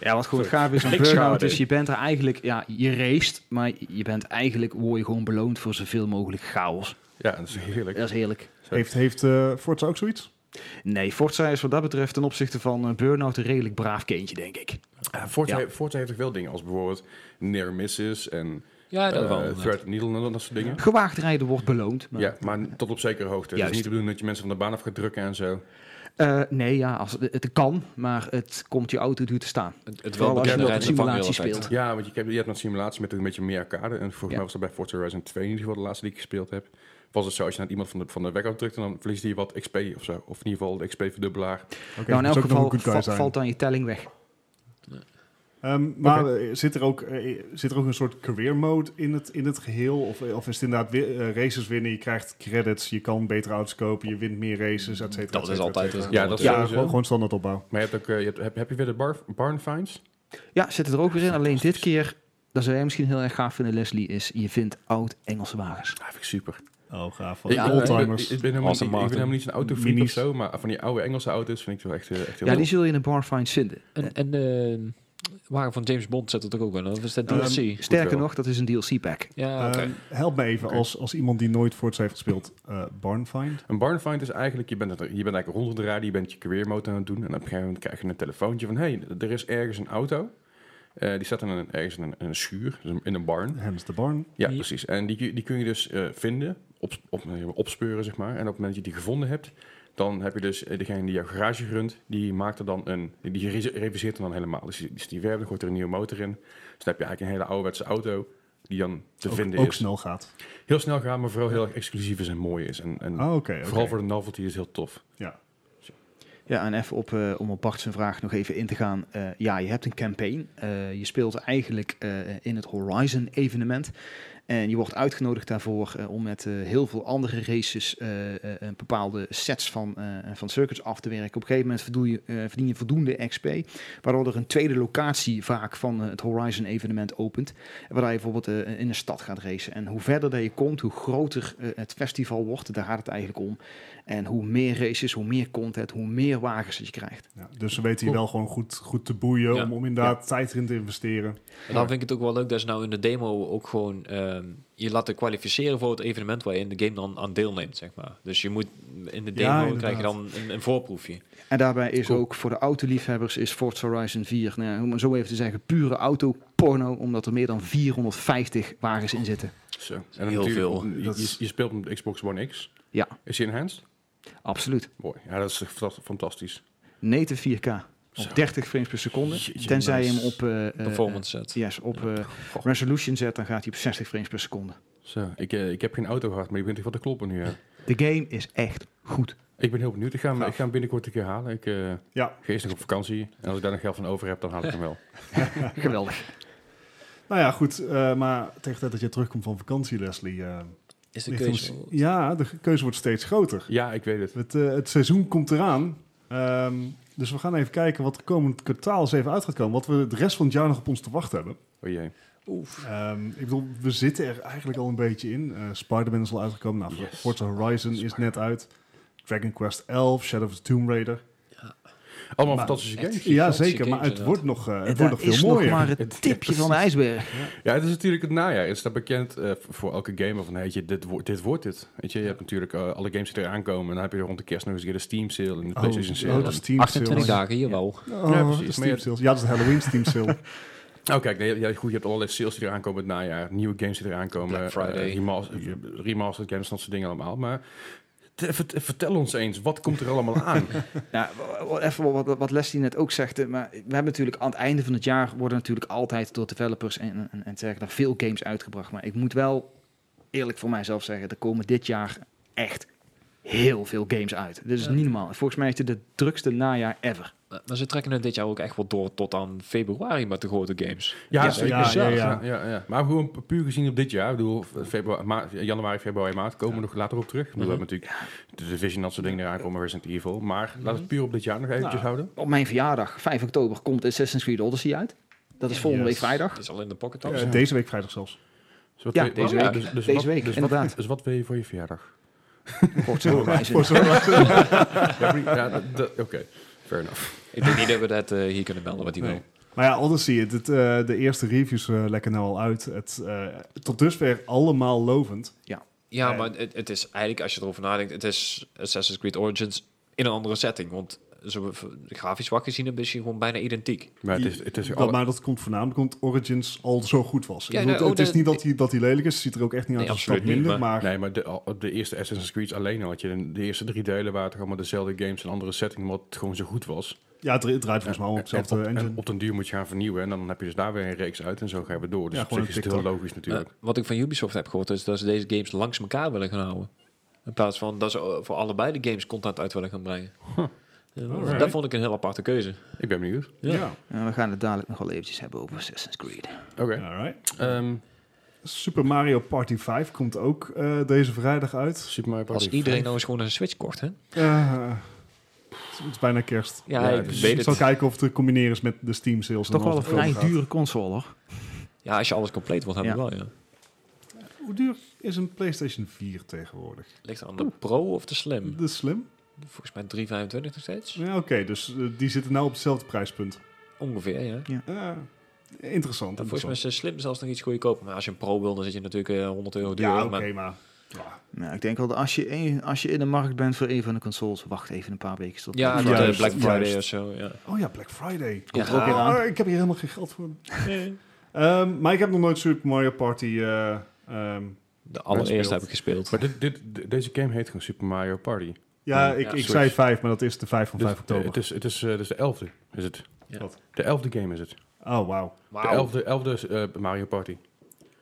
Ja, wat gewoon gaaf is aan Ik Burnout schouder. is, je bent er eigenlijk, ja, je raced, maar je bent eigenlijk, word je gewoon beloond voor zoveel mogelijk chaos. Ja, dat is heerlijk. Dat is heerlijk. Heeft, heeft eh, Forza ook zoiets? Nou, Nee, Forza is wat dat betreft ten opzichte van eh, Burnout een redelijk braaf kindje, denk ik. Ja, Eh, Forza, Ja. Forza heeft ook wel dingen als bijvoorbeeld near misses en Ja, dat eh, wel. thread needle en dat soort dingen. Gewaagd rijden wordt beloond. Maar, Ja, maar tot op zekere hoogte. Het Juist. is niet de bedoeling dat je mensen van de baan af gaat drukken en zo. Eh, nee, ja, als, het, het kan, maar het komt je auto duur te staan. Het, het Vooral wel als je bekende op rijden de en vangen simulatie heel effect. speelt. Ja, want je, hebt- je hebt een simulatie met een beetje meer arcade. En volgens Ja. mij was dat bij Forza Horizon 2 in ieder geval de laatste die ik gespeeld heb. Was het zo, als je naar iemand van de, van de weg afdrukt, dan verliest hij wat XP of zo. Of in ieder geval de XP verdubbelaar. Oké, nou, in dat elk is ook nog geval een good guy va- zijn. valt dan je telling weg. Ehm, maar eh, zit, er ook, eh, zit er ook een soort career mode in het, in het geheel? Of, of is het inderdaad wi- eh, races winnen, je krijgt credits, je kan betere auto's kopen, je wint meer races, et cetera. et Dat is cetera, altijd et cetera. het Ja, dat is Ja, sowieso. gewoon, gewoon standaard opbouw. Maar je hebt ook, eh, je hebt, heb, heb je weer de bar, barn finds? Ja, zit het er ook weer in. Alleen dit keer, dat zou jij misschien heel erg gaaf vinden, Leslie, is je vindt oud Engelse wagens. Ah, vind ik super. Oh, gaaf. Ja, ik, oldtimers. ben- ik ben helemaal niet, Awesome ik ben Martin. helemaal niet zo'n autofreak of Minis. zo, maar van die oude Engelse auto's vind ik wel echt, eh, echt heel Ja, die leuk. zul je in een bar find vinden. En, en de wagen van James Bond zet het er ook in, of is dat Ehm, DLC? Sterker wel. nog, dat is een DLC-pack. ja, oké. Ehm, help me even, Oké. als, als iemand die nooit Forza heeft gespeeld, eh Barnfind. Een barnfind is eigenlijk, je bent, het- je bent eigenlijk rond op de radio, je bent je career mode aan het doen. En op een gegeven moment krijg je een telefoontje van, hé, hey, er is ergens een auto. Eh, die staat in een, ergens in een, in een schuur, dus in een barn. Hems de Barn. Ja, Die- precies. En die, die kun je dus eh, vinden, op, op, eh, opspeuren, zeg maar. En op het moment dat je die gevonden hebt, dan heb je dus eh, degene die jouw garage runt, die maakt er dan een, die re- reviseert hem dan helemaal. Dus die, dus die werpt, dan gooit er een nieuwe motor in. Dus dan heb je eigenlijk een hele ouderwetse auto die dan te Ook, vinden ook is. snel gaat. Heel snel gaat, maar vooral heel erg exclusief is en mooi is. En, en Ah, oké. vooral oké. voor de novelty is heel tof. Ja. Ja, en even op, eh, om op Bart zijn vraag nog even in te gaan. Eh, ja, je hebt een campaign. Eh, je speelt eigenlijk eh, in het Horizon-evenement. En je wordt uitgenodigd daarvoor eh, om met eh, heel veel andere races eh, eh, een bepaalde sets van, eh, van circuits af te werken. Op een gegeven moment verdoe je, eh, verdien je voldoende XP, waardoor er een tweede locatie vaak van eh, het Horizon-evenement opent. Waar je bijvoorbeeld eh, in een stad gaat racen. En hoe verder dat je komt, hoe groter eh, het festival wordt, daar gaat het eigenlijk om. En hoe meer races, hoe meer content, hoe meer wagens dat je krijgt. Ja, dus ze weten je wel gewoon goed, goed te boeien Ja. om, om inderdaad tijd erin te investeren. En dan vind ik het ook wel leuk dat ze nou in de demo ook gewoon ehm, je laten kwalificeren voor het evenement waar je in de game dan aan deelneemt, zeg maar. Dus je moet in de Ja, demo inderdaad. krijg je dan een, een voorproefje. En daarbij is Cool. ook voor de autoliefhebbers is Forza Horizon 4, nou ja, om het zo even te zeggen, pure autoporno, omdat er meer dan 450 wagens in zitten. Zo. En heel natuurlijk, veel. Je, Dat is- je- je speelt met Xbox One X. Ja. Is die enhanced? Absoluut. Mooi. Ja, dat is echt fanta- fantastisch. Native 4K Zo. op 30 frames per seconde. Jeetje, Tenzij je hem nice. op, eh, eh, Performance set. eh, yes, op eh, resolution zet, dan gaat hij op 60 frames per seconde. Zo. Ik, eh, ik heb geen auto gehad, maar ik ben toch wat te kloppen nu. ja. De game is echt goed. Ik ben heel benieuwd. Ik ga hem, Gaaf. ik ga hem binnenkort een keer halen. Ik eh, Ja. ga eerst nog op vakantie. En als ik daar nog geld van over heb, dan haal ik hem wel. Geweldig. Nou ja, goed. eh, maar tegen de tijd dat je terugkomt van vakantie, Leslie. eh, Is de ligt keuze. ons- ja, de keuze wordt steeds groter. Ja, ik weet het. Het, eh, het seizoen komt eraan. Ehm, dus we gaan even kijken wat de komend kwartaal eens even uit gaat komen. Wat we de rest van het jaar nog op ons te wachten hebben. O Oh jee. Ehm, ik bedoel, we zitten er eigenlijk al een beetje in. Eh, Spider-Man is al uitgekomen. Nou, Yes. Forza Horizon is net uit. Dragon Quest 11, Shadow of the Tomb Raider. Allemaal Maar- fantastische Echt. games. Ja, Gigantische zeker. Maar games, het inderdaad. wordt nog, eh, het dat wordt nog is veel mooier. nog maar Het- het tipje van de ijsberg. Ja, het is natuurlijk het najaar. Het staat bekend eh, v- voor elke gamer van, heet je, dit, wordt dit wordt het. Weet je, je hebt natuurlijk eh, alle games die eraan komen. En dan heb je rond de kerst nog eens een keer de Steam sale en de PlayStation sale. oh, dat is Steam 28 sale. dagen, jawel. Oh, Ja, ja, precies. precies. Maar ja- ja, dat is de Halloween Steam sale. Oh, kijk, nee, ja, goed, je hebt allerlei sales die eraan komen het najaar. Nieuwe games die eraan komen. Black Friday. eh, remas- eh, remastered games, dat soort dingen allemaal. Maar te- vert- vertel ons eens, wat komt er allemaal aan? Nou, w- w- even wat, wat- wat Leslie net ook zegt. eh, Maar we hebben natuurlijk aan het einde van het jaar worden natuurlijk altijd door developers en, en, en zeggen daar veel games uitgebracht. Maar ik moet wel eerlijk voor mijzelf zeggen, er komen dit jaar echt heel veel games uit. Dit is Ja. niet normaal. Volgens mij is dit het drukste najaar ever. Maar maar ze trekken het dit jaar ook echt wel door tot aan februari met de grote games. Ja, Ja, zeker. ja, ja, ja, ja, ja. ja. Maar gewoon pu- puur gezien op dit jaar. Ik bedoel, februari, maart, januari, februari, maart komen we nog later op terug. Ik bedoel, We hebben natuurlijk de Division, dat soort dingen eraan komen, Resident Evil. Maar laten we het puur op dit jaar nog eventjes Nou. houden. Op mijn verjaardag, 5 oktober, komt Assassin's Creed Odyssey uit. Dat is volgende Yes. week vrijdag. Het is al in de pocket. Eh, deze week vrijdag zelfs. Dus wat Ja, wil je- deze wat- week. Dus, dus Deze wat, week, dus Wat, inderdaad. dus wat wil je voor je verjaardag? Forza Horizon. Voor zo'n- Ja, maar- ja, dat- dat- Oké, fair enough. Ik denk niet dat we dat eh, hier kunnen melden wat hij Nee. wil. Maar ja, Odyssey, het, het, eh, de eerste reviews eh, lekker nou al uit. Het, eh, tot dusver allemaal lovend. Ja, Eh. maar het, het is eigenlijk, als je erover nadenkt, het is Assassin's Creed Origins in een andere setting. Want zo, grafisch wat gezien heb, is hij gewoon bijna identiek. Maar het is, het is dat, alle- maar dat komt voornamelijk omdat Origins al zo goed was. Ik Ja, bedoel, nou, het oh, is de- niet dat hij dat hij lelijk is. Het ziet er ook echt niet uit Nee, als een stap absoluut niet, minder. maar Nee, maar de, al- de eerste Assassin's Creed alleen al. Had je de, de eerste drie delen waren toch allemaal dezelfde games en andere setting, wat het gewoon zo goed was. ja, het, het draait volgens mij allemaal op en, dezelfde en engine. op den duur moet je gaan vernieuwen en dan heb je dus daar weer een reeks uit en zo gaan we door. Dus Ja, op gewoon zich is een het heel logisch natuurlijk. Eh, wat ik van Ubisoft heb gehoord, is dat ze deze games langs elkaar willen gaan houden. In plaats van dat ze eh, voor allebei de games content uit willen gaan brengen. Ja, Alright. Dat vond ik een heel aparte keuze. Ik ben benieuwd. ja, Ja. En we gaan het dadelijk nog wel eventjes hebben over Assassin's Creed. Oké. alright. Ehm, Super Mario Party 5 komt ook eh, deze vrijdag uit. Super Mario Party Als iedereen vijf. nou eens gewoon een Switch kocht, hè? Eh, het is bijna kerst. Ja, Ja, ik dus weet Ik het. zal kijken of het te combineren is met de Steam sales. en Toch wel alles een wat vrij erover gaat. dure console hoor. Ja, als je alles compleet wilt hebben, Ja. wel, ja. Hoe duur is een PlayStation 4 tegenwoordig? Ligt er aan de Pro of de Slim? Dat is slim. Volgens mij 3,25 nog steeds. Ja, Oké, dus eh, die zitten nou op hetzelfde prijspunt. Ongeveer, ja. Eh, interessant. Dan volgens mij interessant. is de Slim zelfs nog iets goedkoper. Maar als je een Pro wil, dan zit je natuurlijk eh, 100 euro duurder. Ja, oké, maar maar... ja. Nou, ik denk wel dat als je, een- als je in de markt bent voor een van de consoles, wacht even een paar weken tot ja Black tot, eh, Friday. juist, Black Friday juist. of zo. Ja. Oh ja, Black Friday. Komt Ja. er ook weer aan. Ah, ik heb hier helemaal geen geld voor. Nee. Ehm, maar ik heb nog nooit Super Mario Party... eh, ehm, De allereerste Gespeeld. heb ik gespeeld. Maar dit, dit, de- deze game heet gewoon Super Mario Party. ja, Ja, ik, ik Switch. zei 5, maar dat is de 5 van Dus, 5 oktober. eh, Het is, het is, eh, dus de elfde, is het. Ja. Wat? De elfde game is het. Oh, wauw. De elfde, elfde eh, Mario Party.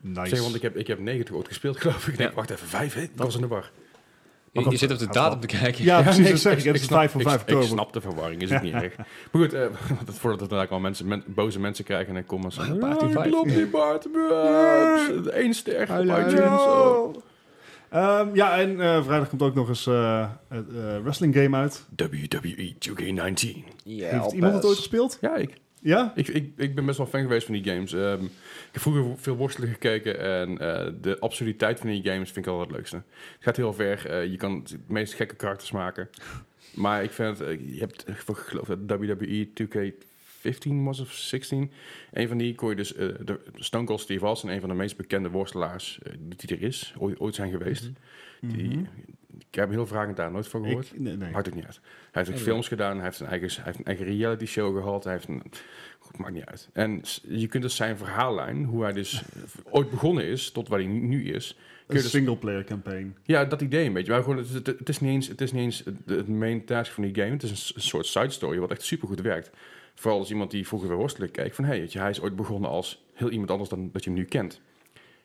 Nice. Zeg, want ik heb, ik heb 90 ooit gespeeld, geloof ik. Ik denk, Ja. wacht even, vijf, hè? Dat was in de war. Je, je zit op de Gaat datum te kijken. Ja, precies, nee, dat zeg ik. Het is de snap- 5 van 5 ik, ik oktober. snap de verwarring, is het niet erg. Maar goed, eh, want het- voordat we daar al mensen, men- boze mensen krijgen en comments. Maar Bart, die "Ah, vijf." klopt niet, Bart. Eén ster op Huilen, iTunes. huilen. oh. Ehm, ja, en eh, vrijdag komt ook nog eens eh, het eh, wrestling game uit. WWE 2K19. Ja, Heeft iemand het ooit gespeeld? Ja, ik, Ja? ik, ik, ik ben best wel fan geweest van die games. Ehm, ik heb vroeger veel worstelen gekeken en eh, de absurditeit van die games vind ik al het leukste. Het gaat heel ver, eh, je kan de meest gekke karakters maken. Maar ik vind, het, eh, je hebt, eh, ik geloof dat E WWE 2K15 was of 16. Een van die kon je dus, eh, de Stone Cold Steve Austin, een van de meest bekende worstelaars eh, die er is, ooit, ooit zijn geweest. die, ik heb heel vragend daar nooit van gehoord. Mhm. Ik, nee, nee. Maakt ook niet uit. Hij heeft ook Nee, films gedaan, hij heeft een eigen, hij heeft een eigen reality show gehad. Hij heeft een, goed, maakt niet uit. En s- je kunt dus zijn verhaallijn, hoe hij dus ooit begonnen is, tot waar hij nu- nu is. Een Kun je dus, singleplayer campaign. ja, dat idee een beetje. Maar gewoon, het, het, het is niet eens, het, is niet eens de- het main task van die game. Het is een, s- een soort side story, wat echt supergoed werkt. Vooral als iemand die vroeger weer worstelen keek, van hé, hey, hij is ooit begonnen als heel iemand anders dan dat je hem nu kent.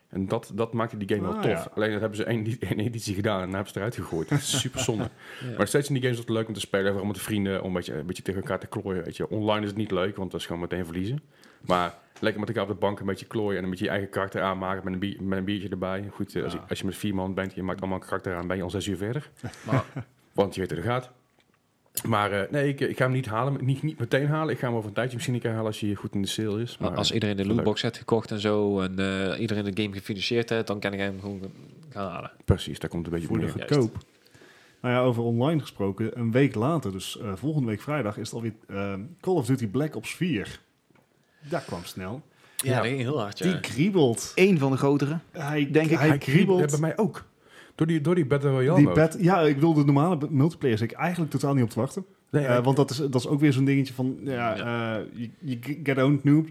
En dat, dat maakte die game wel Ah, tof. ja. Alleen dat hebben ze één, één editie gedaan en dan hebben ze het eruit gegooid. Dat is super zonde. Maar nog steeds in die games is het leuk om te spelen. Vooral met de vrienden. Om een beetje, een beetje tegen elkaar te klooien. Weet je. Online is het niet leuk, want dat is gewoon meteen verliezen. Maar lekker met elkaar op de bank een beetje klooien. En een beetje je eigen karakter aanmaken met een, bier- met een biertje erbij. Goed, eh, als, je, Ja. als je met vier man bent, je maakt allemaal een karakter aan. Ben je al zes uur verder. Maar- Want je weet hoe het gaat. Maar eh, nee, ik, ik ga hem niet halen. Niet, niet meteen halen. Ik ga hem over een tijdje misschien een keer halen als hij goed in de sale is. Maar, Als iedereen de leuk. lootbox heeft gekocht en zo, en eh, iedereen de game gefinancierd heeft, dan kan ik hem gewoon gaan halen. Precies, daar komt het een beetje op Voor de neer. Juist. goedkoop. Nou ja, over online gesproken. Een week later, dus eh, volgende week vrijdag, is het alweer ehm, Call of Duty Black Ops 4. Dat kwam snel. Ja, dat ging heel hard, ja. Die kriebelt. Eén van de grotere. Hij, Denk ik, hij, Hij kriebelt. kriebelt. Bij mij ook. Door die, door die Battle Royale Die mode. bed, ja, ik bedoel, de normale b- multiplayer zit ik eigenlijk totaal niet op te wachten. Nee, Eh, hij- want dat is, dat is ook weer zo'n dingetje van, ja, eh, je je get owned noob.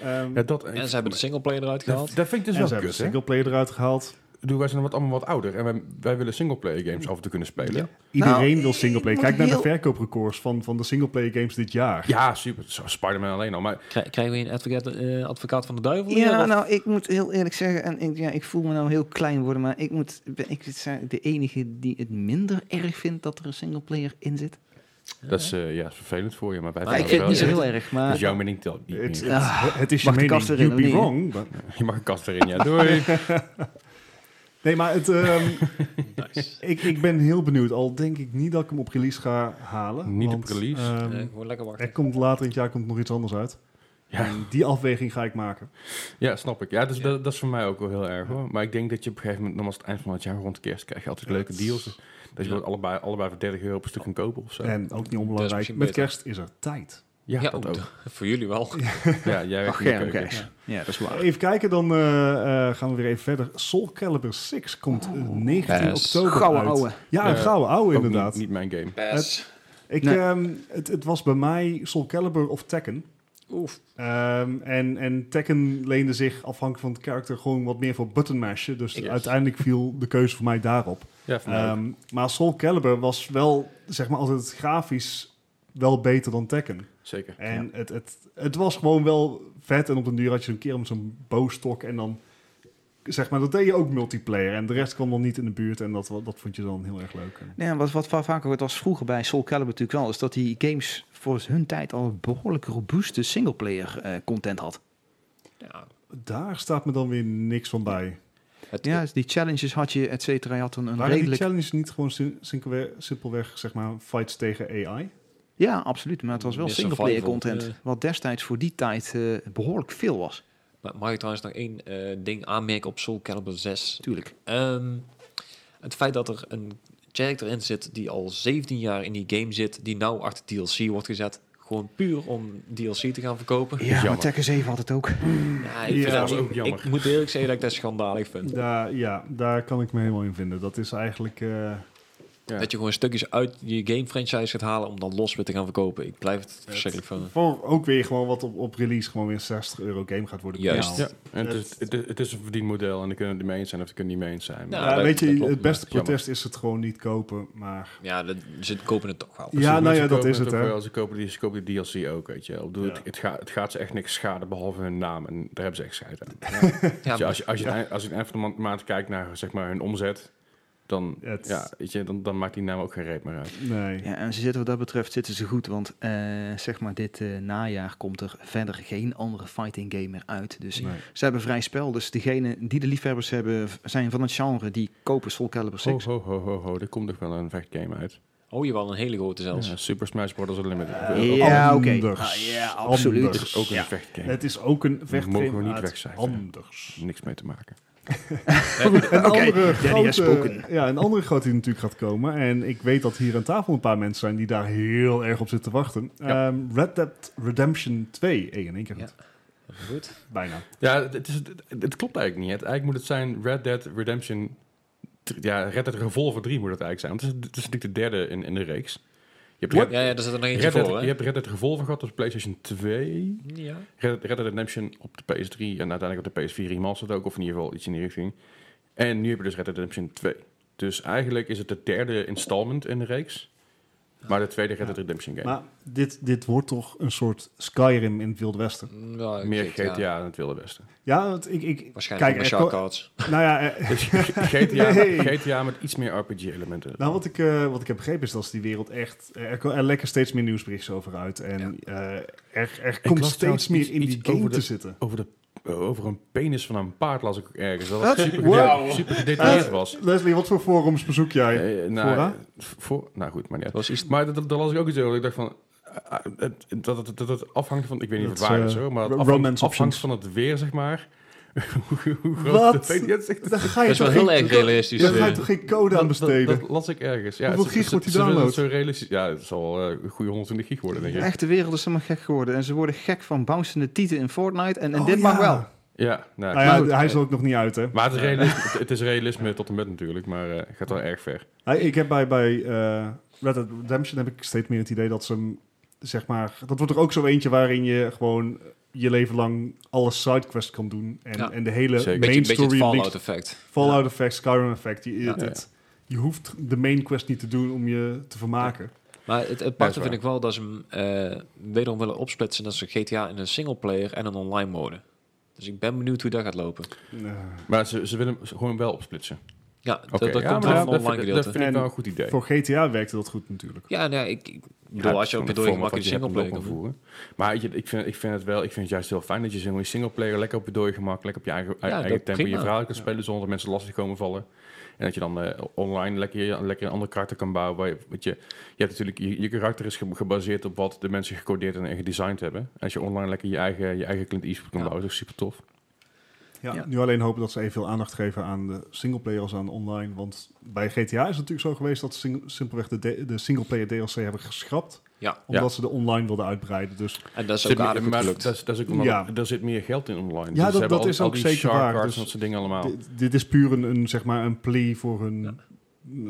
Ehm, ja, dat, En ze hebben de singleplayer eruit dat, gehaald. dat vind ik en dus ze wel hebben kut, hè? singleplayer eruit gehaald. Doe, wij zijn wat allemaal wat ouder en wij, wij willen singleplayer games af en toe kunnen spelen. Iedereen Nou, wil ik singleplayer. moet Kijk naar de heel- verkooprecords van, van de singleplayer games dit jaar. Ja, super. Zo, Spider-Man alleen al. Maar Krij- Krijgen we een advocaat, eh, advocaat van de duivel? hier, Ja, of- nou, ik moet heel eerlijk zeggen, en ik, ja, ik voel me nou heel klein worden, maar ik, moet, ik ben de enige die het minder erg vindt dat er een singleplayer in zit. dat is, eh, ja, is vervelend voor je. Maar wij Maar Ja, Ah, ik vinden vind wel- het niet zo ja, heel erg, Dus maar jouw mening telt niet Het, meer. het, Ah, het is je mag de mening, kast erin, you be of niet? wrong. maar- Je mag een kast erin, ja. Doei. Nee, maar het, ehm, Nice. ik, ik ben heel benieuwd. Al denk ik niet dat ik hem op release ga halen. Niet op want, release? ehm, Eh, gewoon lekker wachten. er komt later in het jaar komt nog iets anders uit. ja, En die afweging ga ik maken. ja, snap ik. Ja, dus Dat, dat is voor mij ook wel heel erg hoor. Maar ik denk dat je op een gegeven moment, nogmaals, het eind van het jaar rond kerst, krijg je altijd leuke deals. Dat je bijvoorbeeld allebei, allebei voor 30 euro per stuk kan kopen of zo. En ook niet Dat is onbelangrijk. misschien Met beter. kerst is er tijd. Ja, Ja, dat oh, ook. Voor jullie wel. Ja, jij werkt ach, in de ja, keuken. oké. Ja, dat is waar. Even kijken, dan eh, eh, gaan we weer even verder. Soul Calibur 6 komt eh, 19 Yes. oktober Oh. Gouden uit. ouwe. Ja, een Eh, gouden ouwe Ook inderdaad. Niet, niet mijn game. Best. Ik, Nee. ehm, het, het was bij mij Soul Calibur of Tekken. Oef. Ehm, en, en Tekken leende zich afhankelijk van het karakter gewoon wat meer voor button mashen. Dus Yes. uiteindelijk viel de keuze voor mij daarop. Ja, voor mij ook. Ehm, maar Soul Calibur was wel, zeg maar, altijd grafisch wel beter dan Tekken. Zeker. En het, het, het was gewoon wel vet. En op den duur had je een keer met zo'n boostok en dan... Zeg maar, dat deed je ook multiplayer. En de rest kwam dan niet in de buurt. En dat, wa- dat vond je dan heel erg leuk. En- Nou Ja, wat, wat va- vaker wordt was vroeger bij Soul Calibur natuurlijk wel, is dat die games voor hun tijd al een behoorlijk robuuste singleplayer eh, content had. Ja, Daar staat me dan weer niks van bij. het, Ja, dus die challenges had je, et cetera. Je had een, een Waren redelijk... die challenges niet gewoon sim- simpelweg, simpelweg, zeg maar, fights tegen AI? Ja, absoluut, maar het was wel Ja, singleplayer survival, content, eh. wat destijds voor die tijd eh, behoorlijk veel was. Maar mag ik trouwens nog één eh, ding aanmerken op Soul Calibur 6? Tuurlijk. Ehm, het feit dat er een character in zit die al 17 jaar in die game zit, die nou achter DLC wordt gezet. Gewoon puur om DLC te gaan verkopen. Ja, maar jammer. Tekken 7 had het ook. Ja, ik, Ja, vind dat is dat, ook ik, jammer. ik moet eerlijk zeggen dat ik dat schandalig vind. Daar, ja, daar kan ik me helemaal in vinden. Dat is eigenlijk... eh, Ja. Dat je gewoon stukjes uit je game franchise gaat halen om dan los weer te gaan verkopen. Ik blijf het verschrikkelijk van. voor ook weer gewoon wat op, op release gewoon weer een 60 euro game gaat worden. per Juist. maand. Ja, en het, is, het, is, het is een verdienmodel en daar kunnen we het mee eens zijn of daar kunnen we niet mee eens Nou, zijn. Ja, Ja, Maar- dat- Eh, weet je, dat klopt, het beste maar jammer. protest is het gewoon niet kopen, maar... Ja, dat, ze kopen het toch wel. Ja, nou mensen ja, dat kopen is het, ook hè. wel. Ze kopen, die, ze kopen die DLC ook, weet je. wel. Ik bedoel, Ja. het, het, gaat, het gaat ze echt niks schaden, behalve hun naam. En daar hebben ze echt scheid aan. Ja, Weet je, als je, als je, het eind- als je het eind van de ma- maand kijkt naar zeg maar, hun omzet, dan, Het- ja, weet je, dan, dan maakt die naam ook geen reet meer uit. Nee. Ja, en ze zitten wat dat betreft zitten ze goed, want eh, zeg maar dit eh, najaar komt er verder geen andere fighting game meer uit. Dus Nee. ze hebben vrij spel. Dus degene die de liefhebbers hebben, v- zijn van het genre, die kopen Soul Calibur 6. Ho, Oh, ho, ho, ho, ho. Er komt nog wel een vechtgame uit. Oh, je wel een hele grote zelfs. Ja, Super Smash Bros. Unlimited. Oh, Eh, Ja, oké. Anders. Ah, ja, absoluut. Dat is ook een Ja. vechtgame. Het is ook een vechtgame Mogen we niet uit wegcijferen. anders. Niks mee te maken. oh. Een Oké, andere Daddy has grote, spoken. ja, een andere grote die natuurlijk gaat komen. En ik weet dat hier aan tafel een paar mensen zijn die daar heel erg op zitten wachten. Ja. Ehm, Red Dead Redemption 2. Hey, in één keer goed. Goed. Bijna. Ja, het, is, het, het klopt eigenlijk niet. Het, eigenlijk moet het zijn Red Dead Redemption... drie- Ja, Red Dead Revolver 3 moet het eigenlijk zijn. Want het is, het is natuurlijk de derde in, in de reeks. Je hebt Red, Ja, ja, daar zit er nog eentje Red voor, Dead, hè? je hebt Red Dead Revolver gehad op PlayStation 2. Ja. Red, Red Dead Redemption op de PS3 en uiteindelijk op de PS4 remastered ook. Of in ieder geval iets in die richting. En nu heb je dus Red Dead Redemption 2. Dus eigenlijk is het de derde installment in de reeks. Maar de tweede Red Dead Redemption game. Maar dit, dit wordt toch een soort Skyrim in het Wilde Westen. Oh, Ja, Meer GTA. GTA in het Wilde Westen. Ja, want ik... ik Waarschijnlijk Kijk, met er shot cards. nou ja, eh, Dus GTA, Nee. GTA met iets meer RPG-elementen. Nou, wat ik, eh, wat ik heb begrepen is dat die wereld echt... eh, Er, ko- er lekken steeds meer nieuwsberichten over uit. En eh, er, er komt las steeds trouwens meer iets- in iets die game over te de- zitten. Over, de, eh, over een penis van een paard las ik ook ergens. Dat Wat? het super, Wow. super gedetailleerd Eh, was. Leslie, wat voor forums bezoek jij? Eh, Fora? nou, voor, nou goed, maar niet uit. Dat was iets... Maar dat- dat- daar las ik ook iets over. dat Ik dacht van... eh, eh, dat, het- dat, het afhangt van, ik weet niet Dat of het waar is, is eh, hoor, maar ro- dat afhangt, romance afhangt options. van het weer, zeg maar. Hoe- hoe groot Wat? de penis- ja, het is echt- Daar ga Dat je is wel toch heel geen- erg realistisch. Daar ga je eh. toch geen code dat- aan besteden? Dat, dat las ik ergens. Ja, Hoeveel het- gig het- wordt die het- ze willen het download? Zo realistisch, ja, het zal eh, een goede 120 gig worden, denk De ik. echte wereld is helemaal gek geworden. En ze worden gek van bouncende tieten in Fortnite. En, en Oh, dit ja. mag wel. Ja, nou, Nou ja, goed. hij is er ook nog niet uit, hè? Maar het is, realisme, het- het is realisme tot en met natuurlijk, maar eh, het gaat wel erg ver. Hey, ik heb bij, bij eh, Red Dead Redemption heb ik steeds meer het idee dat ze hem, zeg maar, dat wordt er ook zo eentje waarin je gewoon je leven lang alle sidequests kan doen en, Ja. en de hele Zeker. main Beetje, beetje het story links- Fallout effect. Fallout effect, Skyrim effect, je, Ja. het- het- je hoeft de main quest niet te doen om je te vermaken. Maar het, het dat is aparte waar. vind ik wel dat ze hem eh, wederom willen opsplitsen. Dat ze GTA in een singleplayer en een online mode. Dus ik ben benieuwd hoe dat gaat lopen. Eh, Maar ze, ze willen hem gewoon wel opsplitsen. Ja, dat- Oké, dat ja, komt maar wel dat- van dat online vind- gedeelte. Dat vind ik En wel een goed idee. Eh, voor GTA werkte dat goed natuurlijk. Ja, nee, ik, ik bedoel, Ja, als je ook van bedoel, het format je makkelijk wat een je hebt singleplayer kan hem doen. wel kan voeren. Maar weet je, ik vind, ik vind het wel, ik vind het juist heel fijn dat je zo'n singleplayer lekker op je dooi gemak, lekker op je eigen, eigen dat tempo prima. je verhaal kan spelen zonder dat mensen lastig komen vallen. En dat je dan eh, online lekker, lekker een ander karakter kan bouwen. Waar je, want je, je hebt natuurlijk, je, je karakter is ge- gebaseerd op wat de mensen gecodeerd en, en gedesigned hebben. Als je online lekker je eigen, je eigen Clint Eastwood kan Ja. bouwen, is dat super tof. Ja. Ja. Nu alleen hopen dat ze evenveel aandacht geven aan de singleplayer als aan online. Want bij GTA is het natuurlijk zo geweest dat ze sing- simpelweg de, de, de singleplayer DLC hebben geschrapt. Ja. Omdat ze de online wilden uitbreiden. Dus En dat is Zit ook meer- aardig goed maar gelukt. dat is- dat is ook omdat Ja. er- er zit meer geld in online. Dus dat- ze hebben dat al die- is al ook die zeker shark waar. cards Dus en dat soort dingen allemaal. dit, dit is puur een, een, zeg maar een plea voor hun Ja.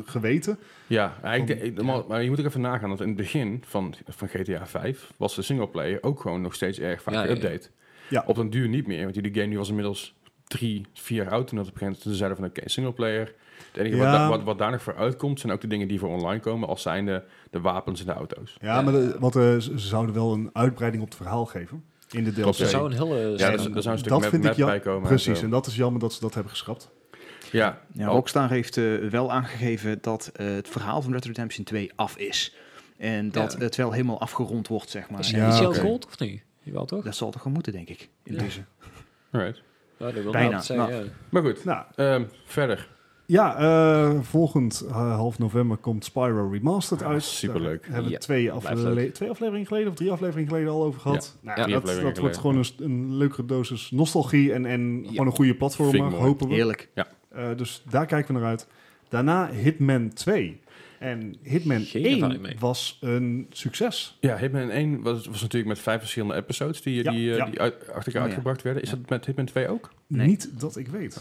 geweten. Ja, maar ik denk- Van- maar, maar je moet ook even nagaan dat in het begin van, van GTA 5 was de singleplayer ook gewoon nog steeds erg vaak Ja, ja, ja. geüpdate. Ja. Op een duur niet meer, want die game die was inmiddels drie, vier jaar oud toen dat op een gegeven moment ze zeiden van oké, singleplayer. Het enige wat, Ja. da- wat, wat daar nog voor uitkomt zijn ook de dingen die voor online komen, als zijn de, de wapens en de auto's. Ja, maar de- want eh, ze ze zouden wel een uitbreiding op het verhaal geven in de DLC. Klopt, Er ja. zou een hele... Ja, er, dat- er zou een stuk dat map, vind ik map jam- bij komen. en Precies, zo. en dat is jammer dat ze dat hebben geschrapt. Ja, Ja, Al- Rockstar heeft eh, wel aangegeven dat eh, het verhaal van Red Dead Redemption 2 af is. En dat Ja. het wel helemaal afgerond wordt, zeg maar. Is Ja, is hij al oké. gold of niet? Jawel toch? Dat zal toch wel moeten, denk ik. Ja. Intussen. alright. Ja, dat wil Bijna, ik altijd zeggen, ja. Maar goed, Nou, ehm, verder. Ja, eh, volgend eh, half november komt Spyro Remastered Ah, uit. superleuk. Daar hebben we Ja, twee, afle- leuk. twee afleveringen geleden of drie afleveringen geleden al over gehad. Ja, Nou, drie dat, dat afleveringen wordt gewoon een, st- een leukere dosis nostalgie en, en Ja. gewoon een goede Vind platformer, ik mooi. hopen we. Heerlijk. Eh, dus daar kijken we naar uit. Daarna Hitman 2. En Hitman Geen ervaring 1 mee. was een succes. Ja, Hitman 1 was, was natuurlijk met vijf verschillende episodes die, Ja, die, eh, ja. die uit- achter elkaar ja. uitgebracht werden. Is Ja. dat met Hitman 2 ook? Oké. Nee. Niet dat ik weet.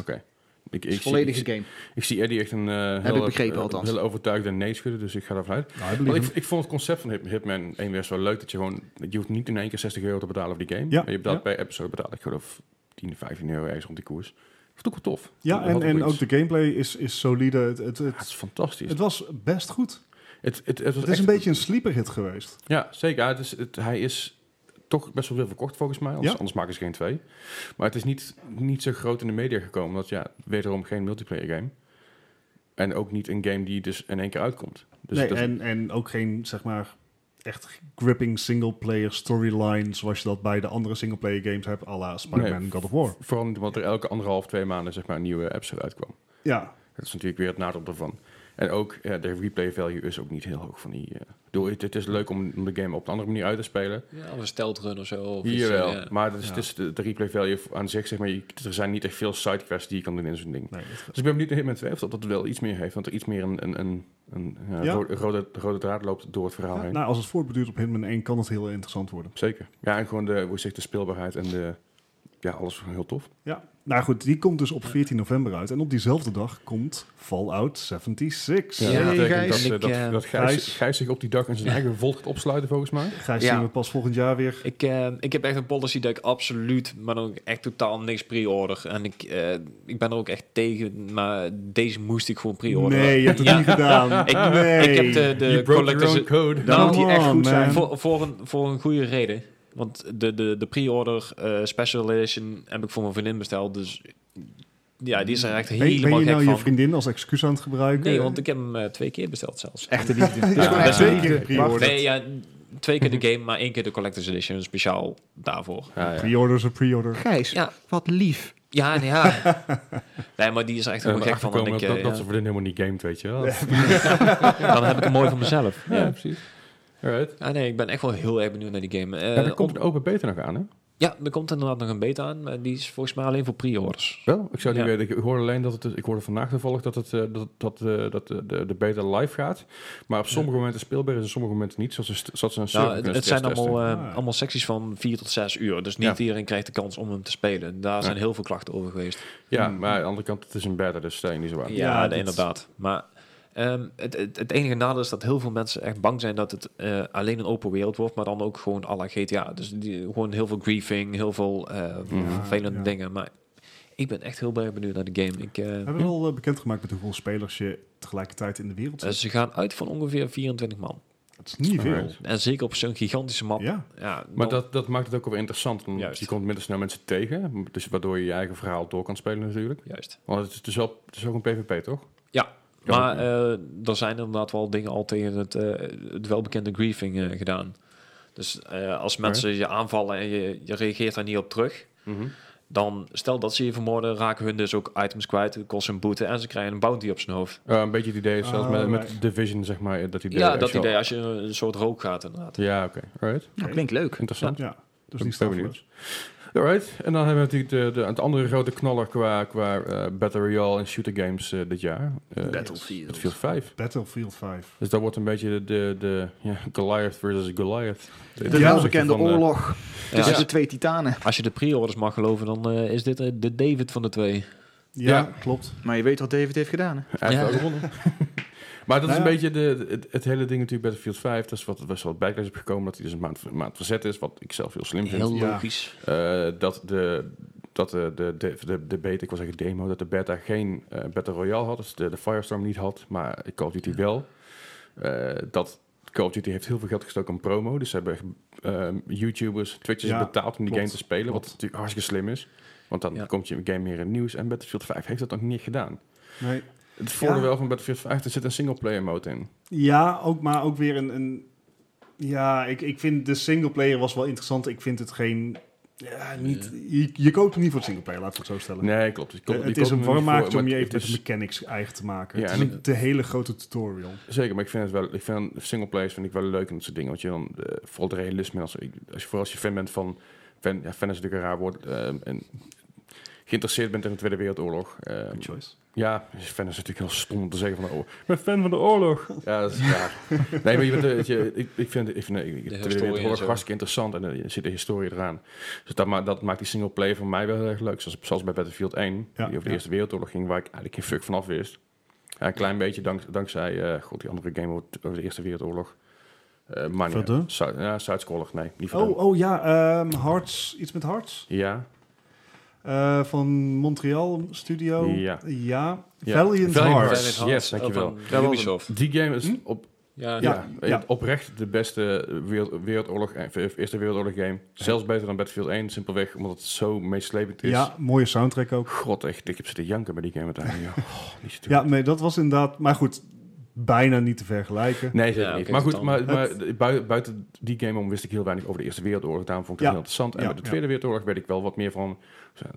Ik, ik, Het is een zie, ik, volledige zie- game. ik zie Eddie echt een eh Heb heel, ik begrepen, eh, althans. heel overtuigde nee schudden, dus ik ga ervan uit. Nou, I Want believe ik, him. ik vond het concept van Hit- Hitman 1 best wel leuk. Dat je gewoon, je hoeft niet in één keer 60 euro te betalen voor die game. Ja, Maar je betaalt ja. per episode betaal ik geloof 10, 15 euro ergens rond die koers. Vond ik wel tof. ja, Dat had en, en iets. ook de gameplay is, is solide. Het, het, Ja, het het, is fantastisch. het Het, was best goed. Ah, het, het, was Het is echt- een beetje een sleeper hit geweest. Ja, zeker. Ja, het is, het, hij is toch best wel veel verkocht volgens mij. Anders, Ja. anders maken ze geen twee. Maar het is niet, niet zo groot in de media gekomen. Dat ja, wederom geen multiplayer game. En ook niet een game die dus in één keer uitkomt. Dus nee, dat- en, en ook geen, zeg maar, echt gripping singleplayer storyline zoals je dat bij de andere singleplayer games hebt, à la Spider-Man Nee. God of War. vooral niet omdat er elke anderhalf, twee maanden zeg maar, een nieuwe episode uitkwam. Ja, Dat is natuurlijk weer het nadeel ervan. En ook ja, de replay value is ook niet heel hoog van die. eh, ik bedoel, het, het is leuk om, om de game op een andere manier uit te spelen. Ja, of een steltrun of zo. Of iets, Hier wel. eh, ja. Maar het is, Ja. het is de, de replay value aan zich, zeg maar, je- er zijn niet echt veel sidequests die je kan doen in zo'n ding. nee, dat- Dus ik ben benieuwd naar Hitman 2 of dat dat wel iets meer heeft. Want er iets meer een, een, een, een eh, Ja. ro- rode, rode draad loopt door het verhaal Ja, heen. nou, als het voortbeduurt op Hitman 1 kan het heel interessant worden. Zeker. Ja, en gewoon de, hoe zeg, de speelbaarheid en de... Ja, alles gewoon heel tof. Ja, nou goed, die komt dus op 14 november uit. En op diezelfde dag komt Fallout 76. Ja. dat Hey, betekent dat, Gijs. eh, Ik, dat, eh, dat Gijs, Gijs. Gijs zich op die dag in zijn eigen volk gaat opsluiten, volgens mij. Gijs Ja. zien we pas volgend jaar weer. Ik, eh, ik heb echt een policy dat ik absoluut, maar dan ook echt totaal niks pre-order. En ik, eh, ik ben er ook echt tegen, maar deze moest ik gewoon pre-orderen. Nee, je hebt het niet gedaan. Ik, nee. ik heb de, de You broke your collectors... own code. Dan moet Come die echt on, goed zijn. man. Voor, voor, een, voor een goede reden. Want de, de, de pre-order eh, special edition heb ik voor mijn vriendin besteld. Dus ja, die is er echt Ben- ben, helemaal je nou gek je van. vriendin als excuus aan het gebruiken? Nee, want ik heb hem eh, twee keer besteld zelfs. Echte liefde. Het is Ja, gewoon ja, echte twee liefde. keer pre-order. Nee, ja, twee keer de game, maar één keer de collector's edition. Speciaal daarvoor. Ja, ja. Pre-order is een pre-order. Gijs, Ja, wat lief. ja, nee, ja. nee, maar die is er echt En helemaal dan gek van. En achterkomen ik, dat, eh, dat, ja, dat ze voor dit helemaal niet gamet, weet je wel. Dan heb ik hem mooi voor mezelf. Ja, Ja. precies. Alright. Ah, nee, ik ben echt wel heel erg benieuwd naar die game. Eh, ja, er komt op- een open beta nog aan, hè? ja, er komt inderdaad nog een beta aan, maar die is volgens mij alleen voor pre-orders. Wel, ik zou niet Ja. weten. Ik hoorde alleen dat het... Ik hoorde vandaag toevallig dat, het, eh, dat, dat, eh, dat de, de, de beta live gaat. Maar op sommige momenten speelbaar is en sommige momenten niet. Zoals ze, st- zoals ze een Nou, server het, kunnen het zijn stresstesten. allemaal, eh, Ah. allemaal secties van 4 tot 6 uur. Dus niet Ja. iedereen krijgt de kans om hem te spelen. Daar zijn Ja. heel veel klachten over geweest. Ja, maar aan de andere kant, het is een beta, dus stel je niet zo eh, Ja, aan. dat- inderdaad. Maar ehm, het, het, het enige nadeel is dat heel veel mensen echt bang zijn dat het eh, alleen een open wereld wordt, maar dan ook gewoon à la GTA. Dus die, gewoon heel veel griefing, heel veel eh, Ja, vervelende ja. dingen. Maar ik ben echt heel erg benieuwd naar de game. Ik, eh, Hebben we al eh, bekendgemaakt met hoeveel spelers je tegelijkertijd in de wereld eh, zit? ze gaan uit van ongeveer 24 man. Dat is niet veel. Alright. En zeker op zo'n gigantische map. Ja. Ja. Maar dan- dat, dat maakt het ook wel interessant. want Juist. Je komt minder snel mensen tegen. Dus waardoor je je eigen verhaal door kan spelen natuurlijk. Juist. Want het is, het is, wel, het is ook een PvP, toch? Ja, Ja, maar ook, eh, er zijn inderdaad wel dingen al tegen het, eh, het welbekende griefing eh, gedaan. Dus eh, als mensen je aanvallen en je, je reageert daar niet op terug, dan stel dat ze je vermoorden, raken hun dus ook items kwijt, het kost een boete en ze krijgen een bounty op zijn hoofd. Eh, een beetje het idee is zelfs Ah, met, met right. Division, zeg maar. eh, Dat idee ja, is dat wel- idee als je een, een soort rook gaat inderdaad. Ja, oké. Alright. Nou, klinkt leuk. Interessant. Ja, dus ben niet benieuwd. straffeloos. Alright. En dan hebben we natuurlijk de, de, het andere grote knaller qua, qua eh Battle Royale en shooter games eh, dit jaar. Eh, Battlefield 5. Battlefield 5. Dus dat wordt een beetje de, de, de ja, Goliath versus Goliath. Ja. De welbekende Van, eh, oorlog Ja, tussen de twee titanen. Dus Als je de pre-orders mag geloven, dan eh, is dit eh, de David van de twee. Ja, Ja. klopt. Maar je weet wat David heeft gedaan, hè? Hij heeft Ja. wel gewonnen. maar dat is Nou een ja. beetje de, het, het hele ding natuurlijk Battlefield 5. Dat is wat best wel backlash op gekomen. Dat hij dus een maand, een maand verzet is. Wat ik zelf heel slim vind. Heel Ja. logisch. Eh, dat de... Dat de, de, de, de, de beta, ik wil zeggen demo, dat de beta geen eh Battle Royale had, dus de, de Firestorm niet had, maar Call of Duty wel. Eh, dat Call of Duty heeft heel veel geld gestoken aan promo, dus ze hebben eh, YouTubers, Twitchers Ja, betaald om die klopt, game te spelen, klopt. wat natuurlijk hartstikke slim is. Want dan Ja. komt je game meer in het nieuws en Battlefield 5 heeft dat nog niet gedaan. Nee. Het voordeel Ja. wel van Battlefield 5, er zit een singleplayer mode in. Ja, ook, maar ook weer een... een ja, ik, ik vind de singleplayer was wel interessant. Ik vind het geen Ja, niet, je, je koopt hem niet voor het singleplayer, laten we het zo stellen. Nee, klopt. Je Eh, koopt- je het koopt is hem een er niet voor, warmmaakje maar om je het even met de is- mechanics eigen te maken. Ja, het is en niet de hele grote tutorial. Zeker, maar ik vind het wel, ik vind singleplays vind ik wel leuk en dat soort dingen. Want je dan, eh, vooral het realisme, als, als je, vooral als je fan bent van, fan, ja, fan is natuurlijk een raar woord, ehm, en geïnteresseerd bent in de Tweede Wereldoorlog. ehm, Good choice. ja, fan is natuurlijk heel stom om te zeggen van, oh, ik ben fan van de oorlog. Ja, dat is raar. nee, maar je bent, eh, weet je, ik, ik vind, ik vind eh, ik- de Tweede historie en Wereldoorlog zo. hartstikke interessant en eh, er zit de historie eraan. Dus dat, ma dat maakt die singleplay voor mij wel heel erg leuk. Zoals, zoals bij Battlefield 1, die over de ja. Eerste Wereldoorlog ging, waar ik eigenlijk geen fuck vanaf wist. Ja, een klein beetje dank, dankzij, eh, god, die andere game over, over de Eerste Wereldoorlog. Eh maar Verdun? ja, Zuid-Scroller, nee, niet Verdun. Oh, oh ja, ehm, Hearts, iets met Hearts. Ja, Eh, van Montreal Studio. Ja. Ja. Ja. Valiant, Valiant Hearts. Hearts. Yes, dankjewel. Van Ubisoft. die game is Hm? op Ja, Ja, ja. oprecht de beste wereld, wereldoorlog, eh, Eerste Wereldoorlog game. Zelfs beter dan Battlefield 1, simpelweg omdat het zo meeslepend is. Ja, mooie soundtrack ook. God, echt, ik heb zitten janken bij die game uiteindelijk. joh. Oh, niet zo Ja, nee, dat was inderdaad... Maar goed, bijna niet te vergelijken. Nee, zeker Ja, niet. oké, Maar goed, dan- maar, maar bui- buiten die game om wist ik heel weinig over de Eerste Wereldoorlog. Daarom vond ik het Ja. heel interessant. En Ja, bij de ja. Tweede Wereldoorlog weet ik wel wat meer van.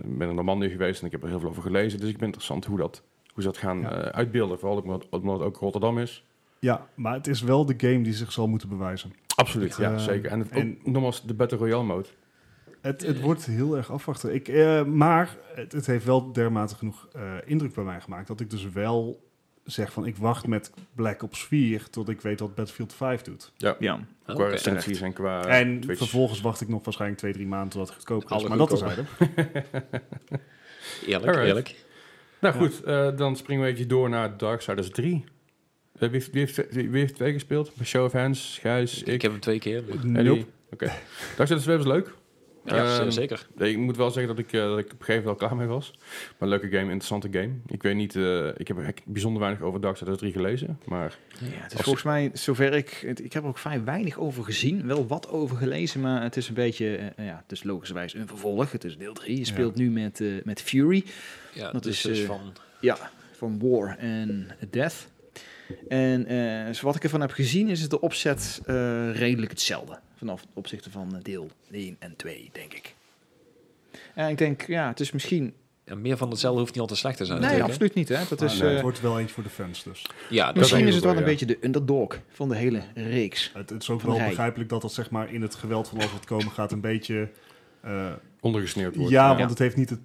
Ik ben in Normandië geweest en ik heb er heel veel over gelezen. Dus ik ben interessant hoe, dat, hoe ze dat gaan Ja. eh, uitbeelden. Vooral ook omdat, omdat het ook Rotterdam is. Ja, maar het is wel de game die zich zal moeten bewijzen. Absoluut, ja, Ja. zeker. En, het, En- ook, nogmaals, de Battle Royale mode. Het, het wordt heel erg afwachten. Ik, eh, maar het, het heeft wel dermate genoeg eh, indruk bij mij gemaakt... dat ik dus wel zeg van... ik wacht met Black Ops 4 tot ik weet wat Battlefield 5 doet. Ja. Qua Oh, Oké. recensies en qua en Eh, Twitch. vervolgens wacht ik nog waarschijnlijk twee, drie maanden... totdat het goedkoper is. Alle Maar dat is goedkoper. eigenlijk. Eerlijk, Alright. eerlijk. Nou Ja. goed, eh, dan springen we eventjes door naar Darksiders 3. Eh, wie, heeft, wie, heeft, wie heeft twee gespeeld? Show of hands, Gijs, Ik, ik, ik heb hem twee keer. Ehm, maar- en Joep. Oké. Darksiders 2 was leuk. Ja, Ehm, zeker. Ik moet wel zeggen dat ik, eh, dat ik op een gegeven moment wel klaar mee was. Maar leuke game, interessante game. Ik weet niet, eh, ik heb eigenlijk bijzonder weinig over Darksiders 3 gelezen. Maar Ja, het is Als- volgens mij, zover ik, het- ik heb er ook vrij weinig over gezien, wel wat over gelezen, maar het is een beetje, eh, nou ja, het is logischerwijs een vervolg, het is deel 3, je Ja. speelt nu met, eh, met Fury, Ja, dat dat is, is dus eh, van... ja, van War en Death. En eh wat ik ervan heb gezien is het de opzet eh, redelijk hetzelfde, vanaf het opzichte van eh, deel 1 en 2, denk ik. En ik denk, ja, het is misschien... ja, meer van hetzelfde hoeft niet altijd slecht te zijn. Nee, natuurlijk, hè? absoluut niet, hè. Dat Maar is, Ah, nee, eh, het wordt wel eentje voor de fans dus. Ja, dat misschien denk is ik het wel, wel een ja. beetje de underdog van de hele reeks. Het, het is ook Van wel Rij. begrijpelijk dat dat zeg maar in het geweld van alles wat komen gaat een beetje... eh, ondergesneeuwd wordt. ja, want het heeft niet het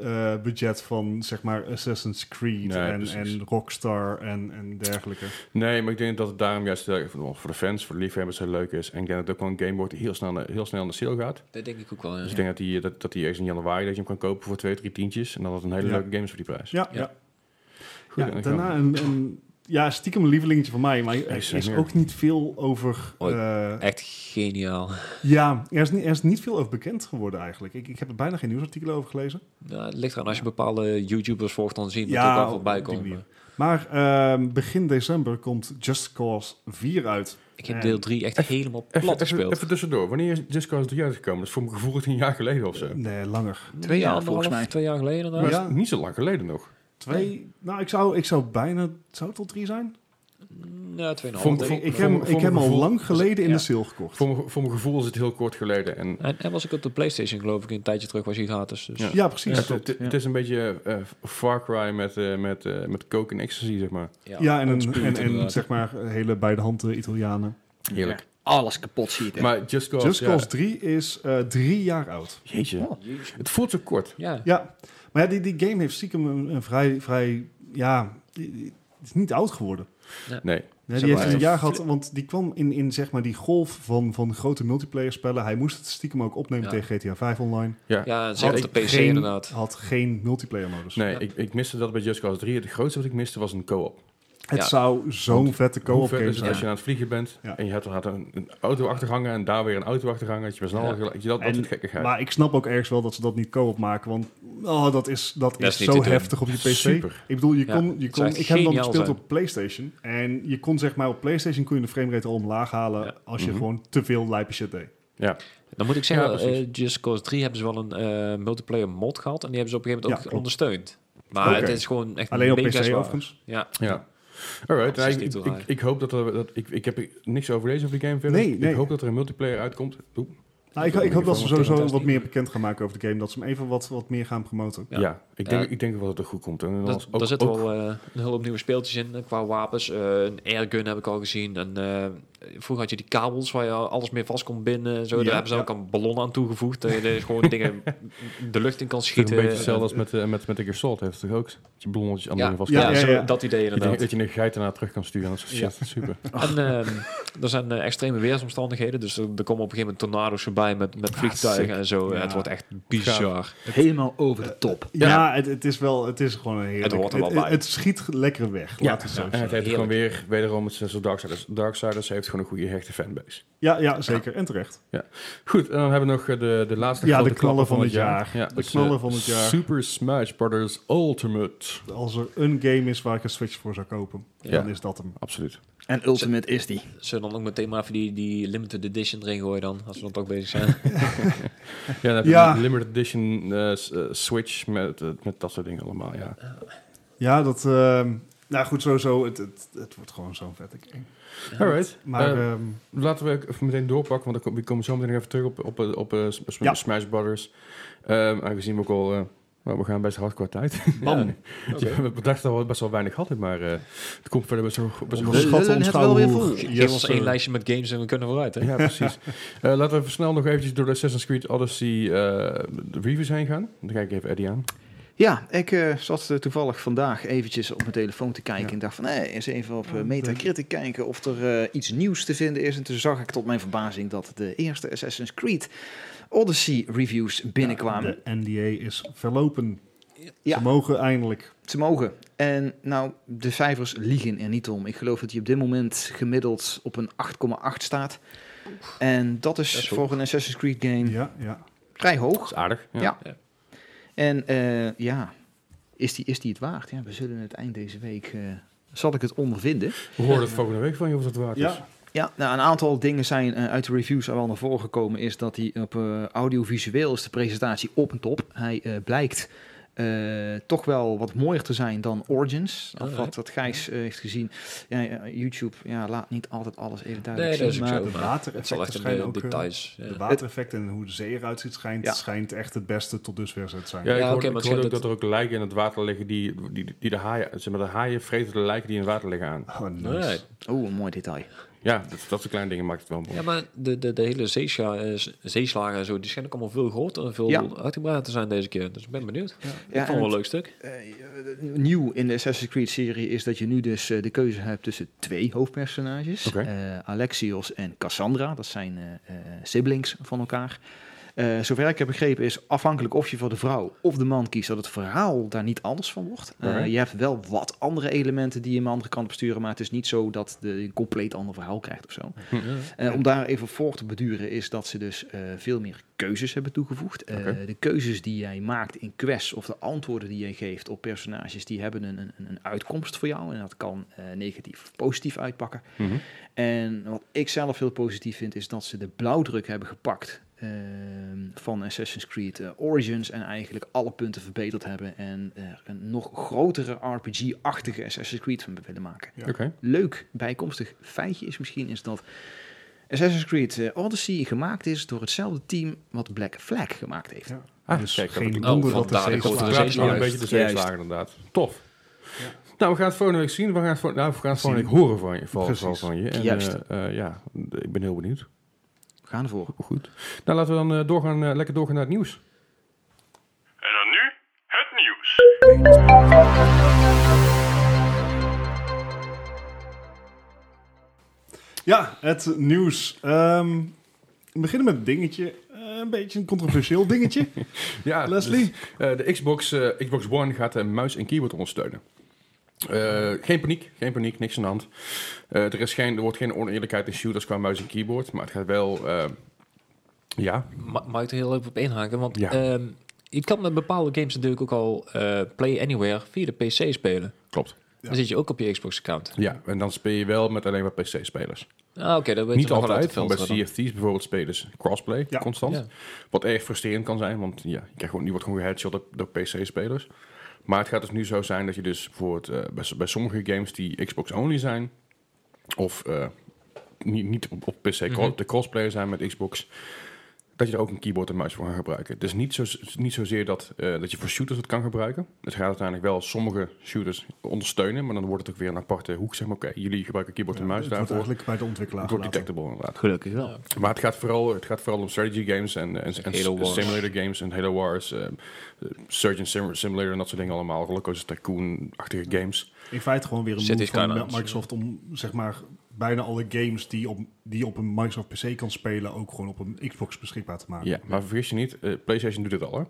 PR-budget van zeg maar Assassin's Creed Nee, en, precies. en Rockstar en, en dergelijke. Nee, maar ik denk dat het daarom juist eh, voor de- voor de fans, voor de liefhebbers heel leuk is. En ik denk dat het ook wel een game wordt die heel snel, heel snel naar de sale gaat. dat denk ik ook wel. ja. Dus ik denk dat die, dat, dat die ergens in januari dat je hem kan kopen voor twee, drie tientjes. En dat het een hele Ja. leuke game is voor die prijs. Ja, ja. Ja. Goed, Ja, en dan daarna gaan een, een- ja, stiekem een lievelingetje van mij, maar Is er er is meer? ook niet veel over... Oei. eh, Echt geniaal. ja, er is, niet, er is niet veel over bekend geworden eigenlijk. Ik, ik heb er bijna geen nieuwsartikelen over gelezen. Ja, het ligt eraan als je bepaalde YouTubers volgt, dan zie je het Ja, ook wel op voorbij die komen. manier. Maar ehm, begin december komt Just Cause 4 uit. Ik heb En- deel 3 echt helemaal Even, plat even, gespeeld. even tussendoor. Wanneer is Just Cause 3 uitgekomen? Dat is voor mijn gevoel echt een jaar geleden of zo. Nee, langer. Twee jaar, volgens anderhalf, mij. Twee jaar geleden Maar inderdaad. Ja. dat is niet zo lang geleden nog. Twee, nou ik zou, ik zou bijna, zou het al drie zijn? Ja, Vond- tweeënhalf. vond- denk Ik, ik. ik voor heb, mijn- voor ik heb mijn al gevoel- lang geleden in Ja. de sale gekocht. Voor mijn, voor mijn gevoel is het heel kort geleden. En En, en was ik op de Playstation geloof ik een tijdje terug, was hij gratis. Dus. Ja. Ja, precies. het, Ja, het- het is een beetje eh, Far Cry met, eh, met, eh, met coke en ecstasy, zeg maar. en, een, onspuwend en, en inderdaad. zeg maar hele bij de hand eh, Italianen. Heerlijk. Ja, alles kapot zie je het echt. Maar Just Cause... Just ja. Cause 3 is eh, drie jaar oud. Jeetje. Oh. Het voelt zo kort. Ja. Ja, maar ja, die, die game heeft stiekem een, een vrij, vrij, ja, die- die- het is niet oud geworden. Nee. Nee, Zeg die maar, heeft een eh, jaar gehad, want die kwam in, in zeg maar die golf van, van grote multiplayer spellen. Hij moest het stiekem ook opnemen Ja. tegen GTA 5 online. Ja. ja, en zeker op de PC geen, inderdaad. Had geen multiplayer modus. Nee, Ja. ik, ik miste dat bij Just Cause 3. Het grootste wat ik miste was een co-op. Het Ja. zou zo'n Want vette Hoe co-op ver game is het zijn. als je aan het vliegen bent Ja. en je hebt er had een, een auto achterhangen en daar weer een auto achterhangen. Dat je best snel Ja. gelijk- dat, dat En- soort gekkigheid. Maar ik snap ook ergens wel dat ze dat niet co-op maken, want oh, dat is, dat Dat is is niet te zo doen. heftig op je PC. Super. Ik bedoel, je Ja, kon, je het kon, zou echt ik heb dan geniaal gespeeld zijn. op PlayStation en je kon zeg maar op PlayStation kon je de framerate al omlaag halen Ja. als je Mhm. gewoon te veel lijpe shit deed. Ja. Dan moet ik zeggen, Ja, precies. eh, Just Cause 3 hebben ze wel een eh, multiplayer mod gehad. En die hebben ze op een gegeven Ja, moment ook klopt. ondersteund. Maar Oké. het is gewoon echt Alleen op mega PC zwaar. overigens. Ja, Ja. Alright, Dat is nou, niet ik, te ik, draaien. ik hoop dat er... Dat, ik, ik heb niks over deze over die game verder. Nee, ik nee. hoop dat er een multiplayer uitkomt. Oep. Nou, ik, ik hoop dat ze Tegen sowieso Destiny. wat meer bekend gaan maken over de game. Dat ze hem even wat, wat meer gaan promoten. Ja, Ja. ik, denk, Ja. ik denk wel dat het goed komt. En Dat, als- ook- daar zitten ook- wel eh, een hulp nieuwe speeltjes in eh, qua wapens. Eh, een airgun heb ik al gezien. En, eh, vroeger had je die kabels waar je alles mee vast kon binden. En zo. Ja, Daar hebben ze ja. ook een ballon aan toegevoegd. Dat je dus gewoon dingen de lucht in kan Het is schieten. een beetje hetzelfde als met, eh, met, met de Gear Salt. Heeft het toch ook dat je ballonnetjes aan Ja, dingen vast ja, kan- ja, zo- ja. dat idee Ik denk inderdaad. dat je een geit erna terug kan sturen. Dat is shit, Ja. dat is super. En ehm, er zijn eh, extreme weersomstandigheden. Dus er, er komen op een gegeven moment tornado's voorbij met, met vliegtuigen en zo. Ja. Het wordt echt bizar. Helemaal over de top. Ja, Ja. het, het is wel, het is gewoon een heerlijk... Het hoort er wel het, bij. het schiet lekker weg, Ja, laat het zo en zeggen. het heeft gewoon weer, wederom, het is zo'n Darksiders. Darksiders heeft gewoon een goede hechte fanbase. Ja, ja, zeker. En terecht. Goed, en dan hebben we nog eh, de, de laatste Ja, grote de knallen klapper van het jaar. Ja, De dat is, knallen eh, van het jaar. Super Smash Brothers Ultimate. Als er een game is waar ik een Switch voor zou kopen, dan is dat hem. Absoluut. En Ultimate is die. Zullen we dan ook meteen maar even die, die limited edition erin gooien dan? Als we dan toch bezig zijn. Ja, dan heb je Ja. een limited edition eh, s- eh, Switch met, eh, met dat soort dingen allemaal, ja. Ja, dat... ehm, nou goed, sowieso. Het, het, het wordt gewoon zo'n vette game. Alright. Maar Eh, ehm, Laten we ook even meteen doorpakken, want dan kom- we komen zo meteen nog even terug op, op, op, eh, Sm- Sm- Ja. Smash Brothers. Ehm, aangezien we ook al... eh, nou, we gaan best hard qua tijd. Bam. Ja, we dachten dat we best wel weinig hadden, maar eh, het komt verder best wel... Best wel We onderschatten lullen ons het nou wel weer hoe- vol. Yes, Geef ons één sir. lijstje met games en we kunnen vooruit. Hè? Ja, precies. Eh, laten we even snel nog eventjes door de Assassin's Creed Odyssey eh, de reviews heen gaan. Dan kijk ik even Eddie aan. Ja, ik eh, zat eh, toevallig vandaag eventjes op mijn telefoon te kijken. En dacht van, hé, eens even op eh, Metacritic kijken of er eh, iets nieuws te vinden is. En toen zag ik tot mijn verbazing dat de eerste Assassin's Creed Odyssey reviews binnenkwamen. De NDA is verlopen. Ja. Ze mogen eindelijk. Ze mogen. En nou, de cijfers liegen er niet om. Ik geloof dat hij op dit moment gemiddeld op een 8,8 staat. En dat is, Dat is voor een Assassin's Creed game Ja, ja. vrij hoog. is aardig. Ja. Ja. Ja. En eh, ja, is die, is die het waard? Ja, we zullen het eind deze week, eh, zal ik het ondervinden. We horen het volgende week van je of dat waard is. Ja, Ja, nou, een aantal dingen zijn eh, uit de reviews al wel naar voren gekomen. Is dat hij op eh, audiovisueel is de presentatie op en top. Hij eh, blijkt eh, toch wel wat mooier te zijn dan Origins. Of Alright. wat, wat Gijs eh, heeft gezien. Ja, ja, YouTube ja, laat niet altijd alles even duidelijk Nee, dat is zien. ook maar zo. de maar Het zal watereffecten echt in schijnen de ook... eh, details. ja. De watereffecten en hoe de zee eruit ziet, schijnt, Ja. schijnt echt het beste tot dusver te zijn. Ja, ik Ja, hoorde, oké, maar ik hoorde het ook dat scheelt er ook lijken in het water liggen die, die, die de haaien... Zeg maar, de haaien vreten de lijken die in het water liggen aan. Oh, nice. Alright. Oh, een mooi detail. Ja, dat, dat soort kleine dingen maakt het wel mooi. Ja, maar de, de, de hele zeesla- eh, zeeslagen en zo, die schijnen ook allemaal veel groter en veel Ja. uitgebreid te zijn deze keer. Dus ik ben benieuwd. Ik Ja, vond het wel en een leuk stuk. Eh, nieuw in de Assassin's Creed serie is dat je nu dus eh, de keuze hebt tussen twee hoofdpersonages. Oké. Eh, Alexios en Cassandra, dat zijn eh, eh, siblings van elkaar. Eh, zover ik heb begrepen is afhankelijk of je voor de vrouw of de man kiest, dat het verhaal daar niet anders van wordt. Eh, Alright. Je hebt wel wat andere elementen die je aan de andere kant besturen, maar het is niet zo dat de een compleet ander verhaal krijgt of zo. Mhm. Eh, om daar even voor te beduren is dat ze dus eh, veel meer keuzes hebben toegevoegd. Eh, Oké. de keuzes die jij maakt in quests of de antwoorden die jij geeft op personages, die hebben een, een, een uitkomst voor jou. En dat kan eh, negatief of positief uitpakken. Mhm. En wat ik zelf heel positief vind, is dat ze de blauwdruk hebben gepakt eh, van Assassin's Creed eh, Origins. En eigenlijk alle punten verbeterd hebben. En er een nog grotere RPG-achtige Assassin's Creed van willen maken Ja. Oké. leuk bijkomstig feitje is misschien is dat Assassin's Creed eh, Odyssey gemaakt is door hetzelfde team wat Black Flag gemaakt heeft. Ja. Ah, dus kijk, dat geen ik- Oh, wonder dat de vandaar de zee grote Het slaat. praat zee. wel een Juist. beetje de zeeslagen inderdaad. Tof. Ja. Nou, we gaan het volgende week zien. We gaan het, vol- nou, we gaan het volgende week horen van je. Vooral, Precies. vooral van je. En, Juist. eh, eh, ja, ik ben heel benieuwd. We gaan ervoor. Goed. Nou, laten we dan eh, doorgaan, eh, lekker doorgaan naar het nieuws. En dan nu het nieuws. Ja, het nieuws. Ehm, we beginnen met een dingetje. Eh, een beetje een controversieel dingetje. Ja, Leslie? dus, eh, de Xbox, eh, Xbox One gaat de muis en keyboard ondersteunen. Eh, geen paniek, geen paniek, niks aan de hand. Eh, er, is geen, er wordt geen oneerlijkheid in shooters qua muis en keyboard, maar het gaat wel... eh, ja, Ma mag ik er heel even op inhaken? Want Ja. ehm, je kan met bepaalde games natuurlijk ook al eh, Play Anywhere via de PC spelen. klopt. Ja. Dan zit je ook op je Xbox-account. Ja, en dan speel je wel met alleen maar PC-spelers. Ah, Oké, dat weet Niet je nog wel uit altijd, te want bij filteren dan. CFT's bijvoorbeeld spelen ze crossplay Ja. constant. Ja. Wat erg frustrerend kan zijn, want ja, je, krijgt gewoon, je wordt gewoon geheadshot door, door PC-spelers. Maar het gaat dus nu zo zijn dat je dus bijvoorbeeld eh, bij, bij sommige games die Xbox-only zijn... Mhm. of eh, niet, niet op, op PC cro- de crossplay zijn met Xbox... dat je er ook een keyboard en muis voor kan gebruiken. Dus niet, zo, niet zozeer dat, eh, dat je voor shooters het kan gebruiken. Het gaat uiteindelijk wel sommige shooters ondersteunen, maar dan wordt het ook weer een aparte hoek. Zeg maar, oké, jullie gebruiken keyboard en Ja, muis het wordt daarvoor. eigenlijk bij de ontwikkelaar Het wordt gelaten. detectable inderdaad. Gelukkig wel. Maar het gaat vooral, het gaat vooral om strategy games en, en, en Halo Wars. simulator games en Halo Wars, eh, eh, Surgeon Sim- Simulator en dat soort dingen allemaal. Rollercoaster Tycoon-achtige games. In feite gewoon weer een City move van Skylines. Microsoft om zeg maar bijna alle games die op, die je op een Microsoft PC kan spelen ook gewoon op een Xbox beschikbaar te maken. Ja, maar vergis je niet, eh, PlayStation doet dit al hè.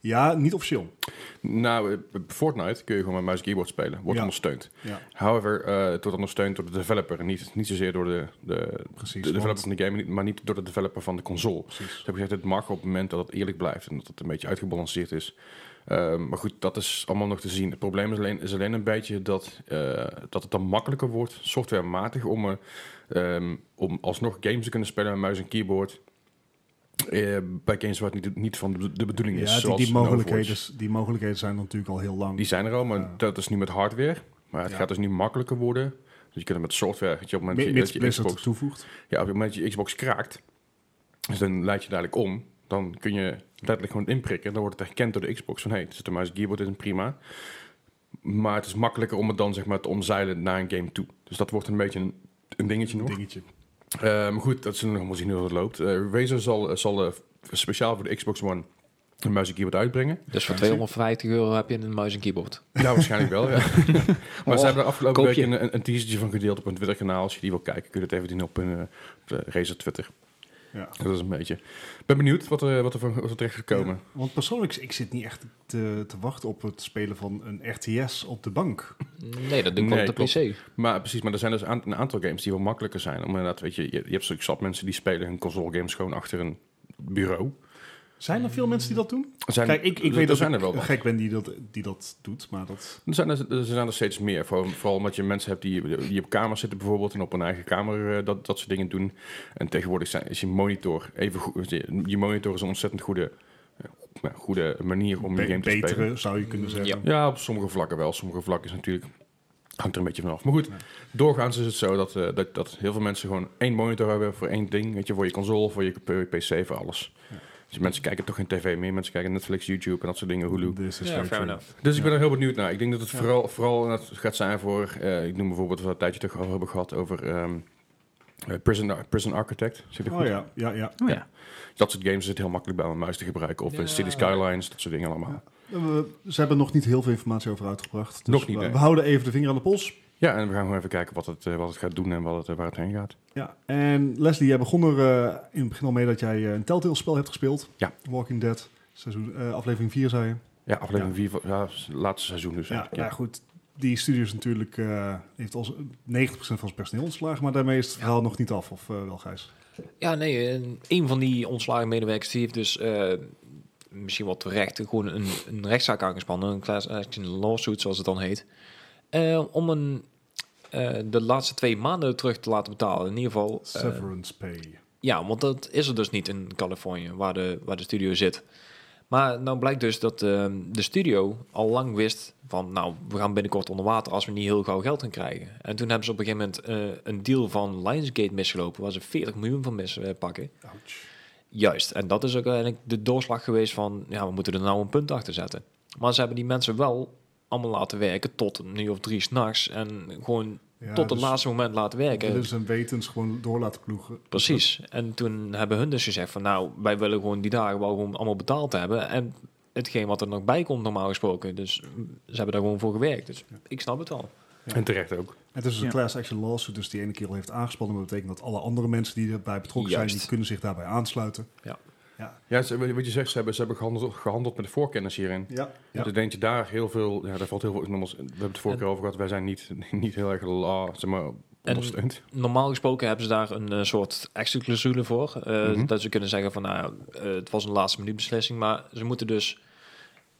Ja, niet officieel. Nou, eh, Fortnite kun je gewoon met muis en keyboard spelen. Wordt Ja. ondersteund. Ja, However, eh, het wordt ondersteund door de developer. En niet, niet zozeer door de, de, precies. de developer want- van de game, niet- maar niet door de developer van de console. precies. Ze hebben gezegd, het mag op het moment dat het eerlijk blijft en dat het een beetje uitgebalanceerd is. Ehm, maar goed, dat is allemaal nog te zien. Het probleem is alleen, is alleen een beetje dat, eh, dat het dan makkelijker wordt, softwarematig, om, eh, ehm, om alsnog games te kunnen spelen met muis en keyboard. Eh, bij games waar het niet, niet van de, de bedoeling is. Ja, die, zoals die, een Overwatch. mogelijkheden, die mogelijkheden zijn natuurlijk al heel lang. Die zijn er al, maar Ja. dat is nu met hardware. Maar het Ja. gaat dus nu makkelijker worden. Dus je kunt het met software, dat je op het moment Mi- dat Mits je, dat je Blizzard Xbox het toevoegt. ja, op het moment dat je Xbox kraakt, dus dan leid je dadelijk om, dan kun je letterlijk gewoon inprikken. Dan wordt het herkend door de Xbox van, hé, hey, er zit een muis en keyboard in, prima. Maar het is makkelijker om het dan zeg maar te omzeilen naar een game toe. Dus dat wordt een beetje een, een dingetje nog. Dingetje. Eh, maar goed, dat zullen we nog maar zien hoe dat loopt. Eh Razer zal, zal eh, speciaal voor de Xbox One een muis en keyboard uitbrengen. Dus voor 250 euro heb je een muis en keyboard. Ja, waarschijnlijk wel, ja. maar ze hebben de afgelopen koop week je. een, een, een teasertje van gedeeld op hun Twitter-kanaal. Als je die wil kijken, kun je dat even zien op hun eh, op de Razer Twitter. Ja. Dat is een beetje. Ik ben benieuwd wat er, wat er, van, wat er terecht gaat komen. Ja, want persoonlijk, ik zit niet echt te, te wachten op het spelen van een RTS op de bank. Nee, dat doe ik Nee, wel op de klopt. PC. Maar precies, maar er zijn dus aan- een aantal games die wel makkelijker zijn. Om inderdaad, weet je, je, je hebt natuurlijk zat mensen die spelen hun console games gewoon achter een bureau. Zijn er veel mensen die dat doen? Er zijn, Kijk, ik, ik er- weet er dat zijn ik er wel een wat. gek ben die dat, die dat doet, maar dat... Er zijn er, er zijn er steeds meer. Vooral, vooral omdat je mensen hebt die, die op kamers zitten bijvoorbeeld en op hun eigen kamer eh, dat, dat soort dingen doen. En tegenwoordig zijn, is je monitor even goed. Je, je monitor is een ontzettend goede, eh, nou, goede manier om je Be- game te spelen. betere, zou je kunnen zeggen. Ja, op sommige vlakken wel. Sommige vlakken is natuurlijk hangt er een beetje vanaf. Maar goed, doorgaans is het zo dat, eh, dat, dat heel veel mensen gewoon één monitor hebben voor één ding. Weet je, voor je console, voor je p- PC, voor alles. Dus mensen kijken toch geen tv meer. Mensen kijken Netflix, YouTube en dat soort dingen, Hulu. This is eh, Ja, very fair true. enough. Dus ik ben er heel benieuwd naar. Ik denk dat het vooral, vooral dat gaat zijn voor... eh, ik noem bijvoorbeeld wat we een tijdje terug al hebben gehad over... ehm, eh, Prison, Ar- Prison Architect. Zit er Oh goed? ja, ja, ja. Oh ja. Dat soort games is het heel makkelijk bij mijn muis te gebruiken. Of eh, Ja. City Skylines, dat soort dingen allemaal. We- Eh, ze hebben nog niet heel veel informatie over uitgebracht. Dus Nog niet, we, nee. we houden even de vinger aan de pols. Ja, en we gaan gewoon even kijken wat het, eh, wat het gaat doen en wat het, eh, waar het heen gaat. Ja, en Leslie, jij begon er eh, in het begin al mee dat jij eh, een Telltale-spel hebt gespeeld. Ja. Walking Dead, seizoen, eh, aflevering 4 zei je. Ja, aflevering 4 van ja, s- laatste seizoen dus. Ja, nou, eigenlijk, ja, goed. Die studio is natuurlijk, eh, heeft als 90% van zijn personeel ontslagen, maar daarmee is het verhaal nog niet af, of eh, wel Gijs? Ja, nee, een- een van die ontslagen medewerkers die heeft dus eh, misschien wel terecht gewoon een, een rechtszaak aangespannen, een class action lawsuit zoals het dan heet, eh, om een, eh, de laatste twee maanden terug te laten betalen. In ieder geval, eh, Severance Pay. ja, want dat is er dus niet in Californië waar de, waar de studio zit. Maar nou blijkt dus dat eh, de studio al lang wist van, nou, we gaan binnenkort onder water als we niet heel gauw geld gaan krijgen. En toen hebben ze op een gegeven moment eh, een deal van Lionsgate misgelopen, waar ze 40 miljoen van mis eh, pakken. Ouch. Juist, en dat is ook eigenlijk de doorslag geweest van, ja, we moeten er nou een punt achter zetten. Maar ze hebben die mensen wel allemaal laten werken tot een uur of drie s'nachts en gewoon Ja, tot het dus laatste moment laten werken. Willens en wetens gewoon door laten ploegen. Precies, en toen hebben hun dus gezegd van, nou, wij willen gewoon die dagen wel gewoon allemaal betaald hebben en hetgeen wat er nog bij komt normaal gesproken. Dus mm, ze hebben daar gewoon voor gewerkt, dus ik snap het al. ja. En terecht ook. Het is dus een Ja. class action lawsuit, dus die ene kerel heeft aangespannen. Maar dat betekent dat alle andere mensen die erbij betrokken zijn, Juist. die kunnen zich daarbij aansluiten. Ja, ze, wat je zegt, ze hebben, ze hebben gehandeld, gehandeld met de voorkennis hierin. Ja, Dus ik denk dat je daar heel veel, ja, daar valt heel veel, nogmaals, we hebben het vorige keer over gehad, wij zijn niet, niet heel erg la, zeg maar, ondersteund. Normaal gesproken hebben ze daar een eh, soort extra clausule voor. eh, Mhm. Dat ze kunnen zeggen van nou, eh, het was een laatste minuut beslissing. Maar ze moeten dus.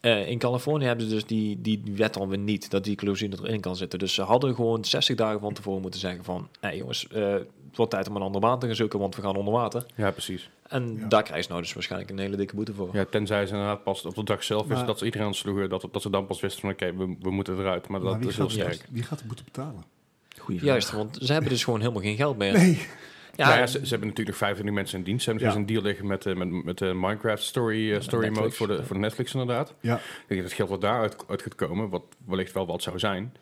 eh, in Californië hebben ze dus die, die wet dan weer niet, dat die clausule erin kan zitten. Dus ze hadden gewoon 60 dagen van tevoren moeten zeggen van hé jongens, eh, het wordt tijd om een andere baan te gaan zoeken, want we gaan onder water. Ja, precies. En Ja. daar krijgen ze nou dus waarschijnlijk een hele dikke boete voor. Ja, tenzij ze inderdaad pas op de dag zelf wisten Maar- dat ze iedereen aansloegen, dat, dat ze dan pas wisten van, oké, we, we moeten eruit. Maar, Maar dat wie is heel gaat, sterk. wie gaat de boete betalen? Juist, want ze hebben dus gewoon helemaal geen geld meer. Nee. Ja, Nou ja, ze, ze hebben natuurlijk nog 25 mensen in dienst. Ze hebben Ja. dus een deal liggen met, eh, met, met de Minecraft Story, eh, story Netflix. Mode voor, de, voor Netflix inderdaad. Ja. Ik denk dat het geld wat daaruit uit gaat komen, wat wellicht wel wat zou zijn,